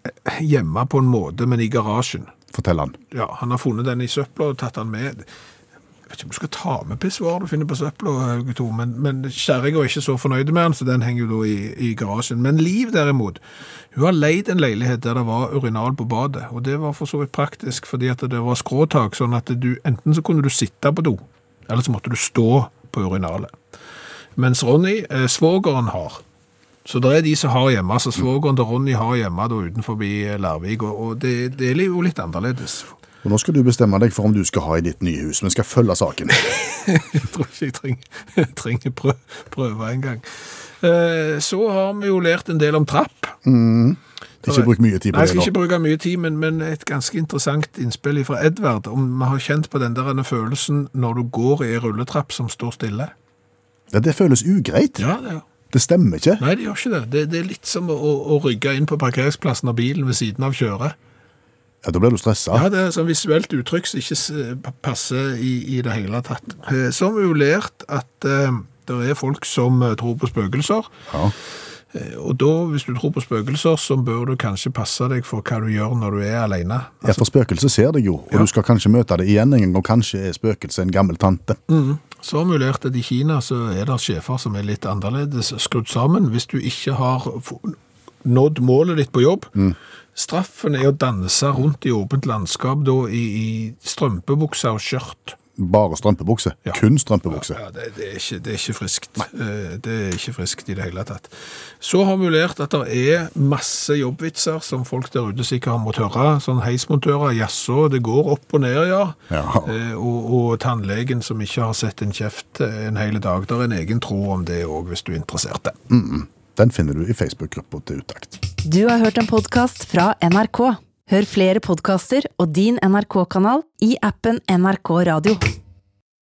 [SPEAKER 2] eh, hjemme på en måte, men i garasjen.
[SPEAKER 3] Fortell han.
[SPEAKER 2] Ja, han har funnet den i søpla og tatt den med. Jeg vet ikke om du skal ta med pissoar du finner på søpla, Hauge 2, men, men kjerringa er ikke så fornøyd med den, så den henger jo da i, i garasjen. Men Liv, derimot, hun har leid en leilighet der det var urinal på badet, og det var for så vidt praktisk, fordi at det var skråtak, sånn at du enten så kunne du sitte på do, eller så måtte du stå på urinalet. Mens Ronny, eh, svogeren har. Så det er de som har hjemme, så svogeren til Ronny har hjemme da utenfor Lærvik, og, og det, det er jo litt annerledes.
[SPEAKER 3] Og nå skal du bestemme deg for om du skal ha i ditt nye hus. Vi skal følge saken.
[SPEAKER 2] Jeg tror ikke jeg trenger, jeg trenger prø prøve en gang. Eh, Så har vi jo lært en del om trapp.
[SPEAKER 3] Ikke bruk mye tid
[SPEAKER 2] Nei,
[SPEAKER 3] på
[SPEAKER 2] jeg skal
[SPEAKER 3] det
[SPEAKER 2] ikke
[SPEAKER 3] nå.
[SPEAKER 2] bruke mye tid, men, men et ganske interessant innspill fra Edvard, om vi har kjent på den der ene følelsen når du går i en rulletrapp som står stille.
[SPEAKER 3] Ja, det føles ugreit.
[SPEAKER 2] Ja, ja.
[SPEAKER 3] Det stemmer ikke.
[SPEAKER 2] Nei, det gjør ikke det. Det, det er litt som å, å, å rygge inn på parkeringsplassen av bilen ved siden av kjøret.
[SPEAKER 3] Ja, da blir du stressa.
[SPEAKER 2] Ja, det er sånn visuelt uttrykk som ikke s- passer i, i det hele tatt. Eh, Så har vi jo lært at eh, det er folk som eh, tror på spøkelser.
[SPEAKER 3] Ja.
[SPEAKER 2] Eh, Og da, hvis du tror på spøkelser, så bør du kanskje passe deg for hva du gjør når du er alene. Altså,
[SPEAKER 3] Ja, for spøkelset ser deg jo, og du skal kanskje møte det igjen en gang, og kanskje er spøkelset en gammel tante.
[SPEAKER 2] Så har vi jo lært at i Kina så er det sjefer som er litt annerledes skrudd sammen. Hvis du ikke har f- nådd målet ditt på jobb,
[SPEAKER 3] Mm.
[SPEAKER 2] straffen er å danse rundt i åpent landskap da i, i strømpebukser og skjørt.
[SPEAKER 3] Bare strømpebukse.
[SPEAKER 2] Mm. Ja.
[SPEAKER 3] Kun strømpebukse.
[SPEAKER 2] Ja, det, det, er ikke, det er ikke friskt. Eh, Det er ikke friskt i det hele tatt. Så har vi lært at det er masse jobbvitser som folk der ute sikkert har måttet høre. Sånn heismontører, jaså, det går opp og ned, ja.
[SPEAKER 3] Ja.
[SPEAKER 2] Eh, Og, og tannlegen som ikke har sett en kjeft en hel dag. Det er en egen tro om det òg, hvis du er interessert.
[SPEAKER 3] Den finner du i Facebook-gruppa til Utakt.
[SPEAKER 1] Du har hørt en podkast fra NRK. Hør flere podkaster og din NRK-kanal i appen NRK Radio.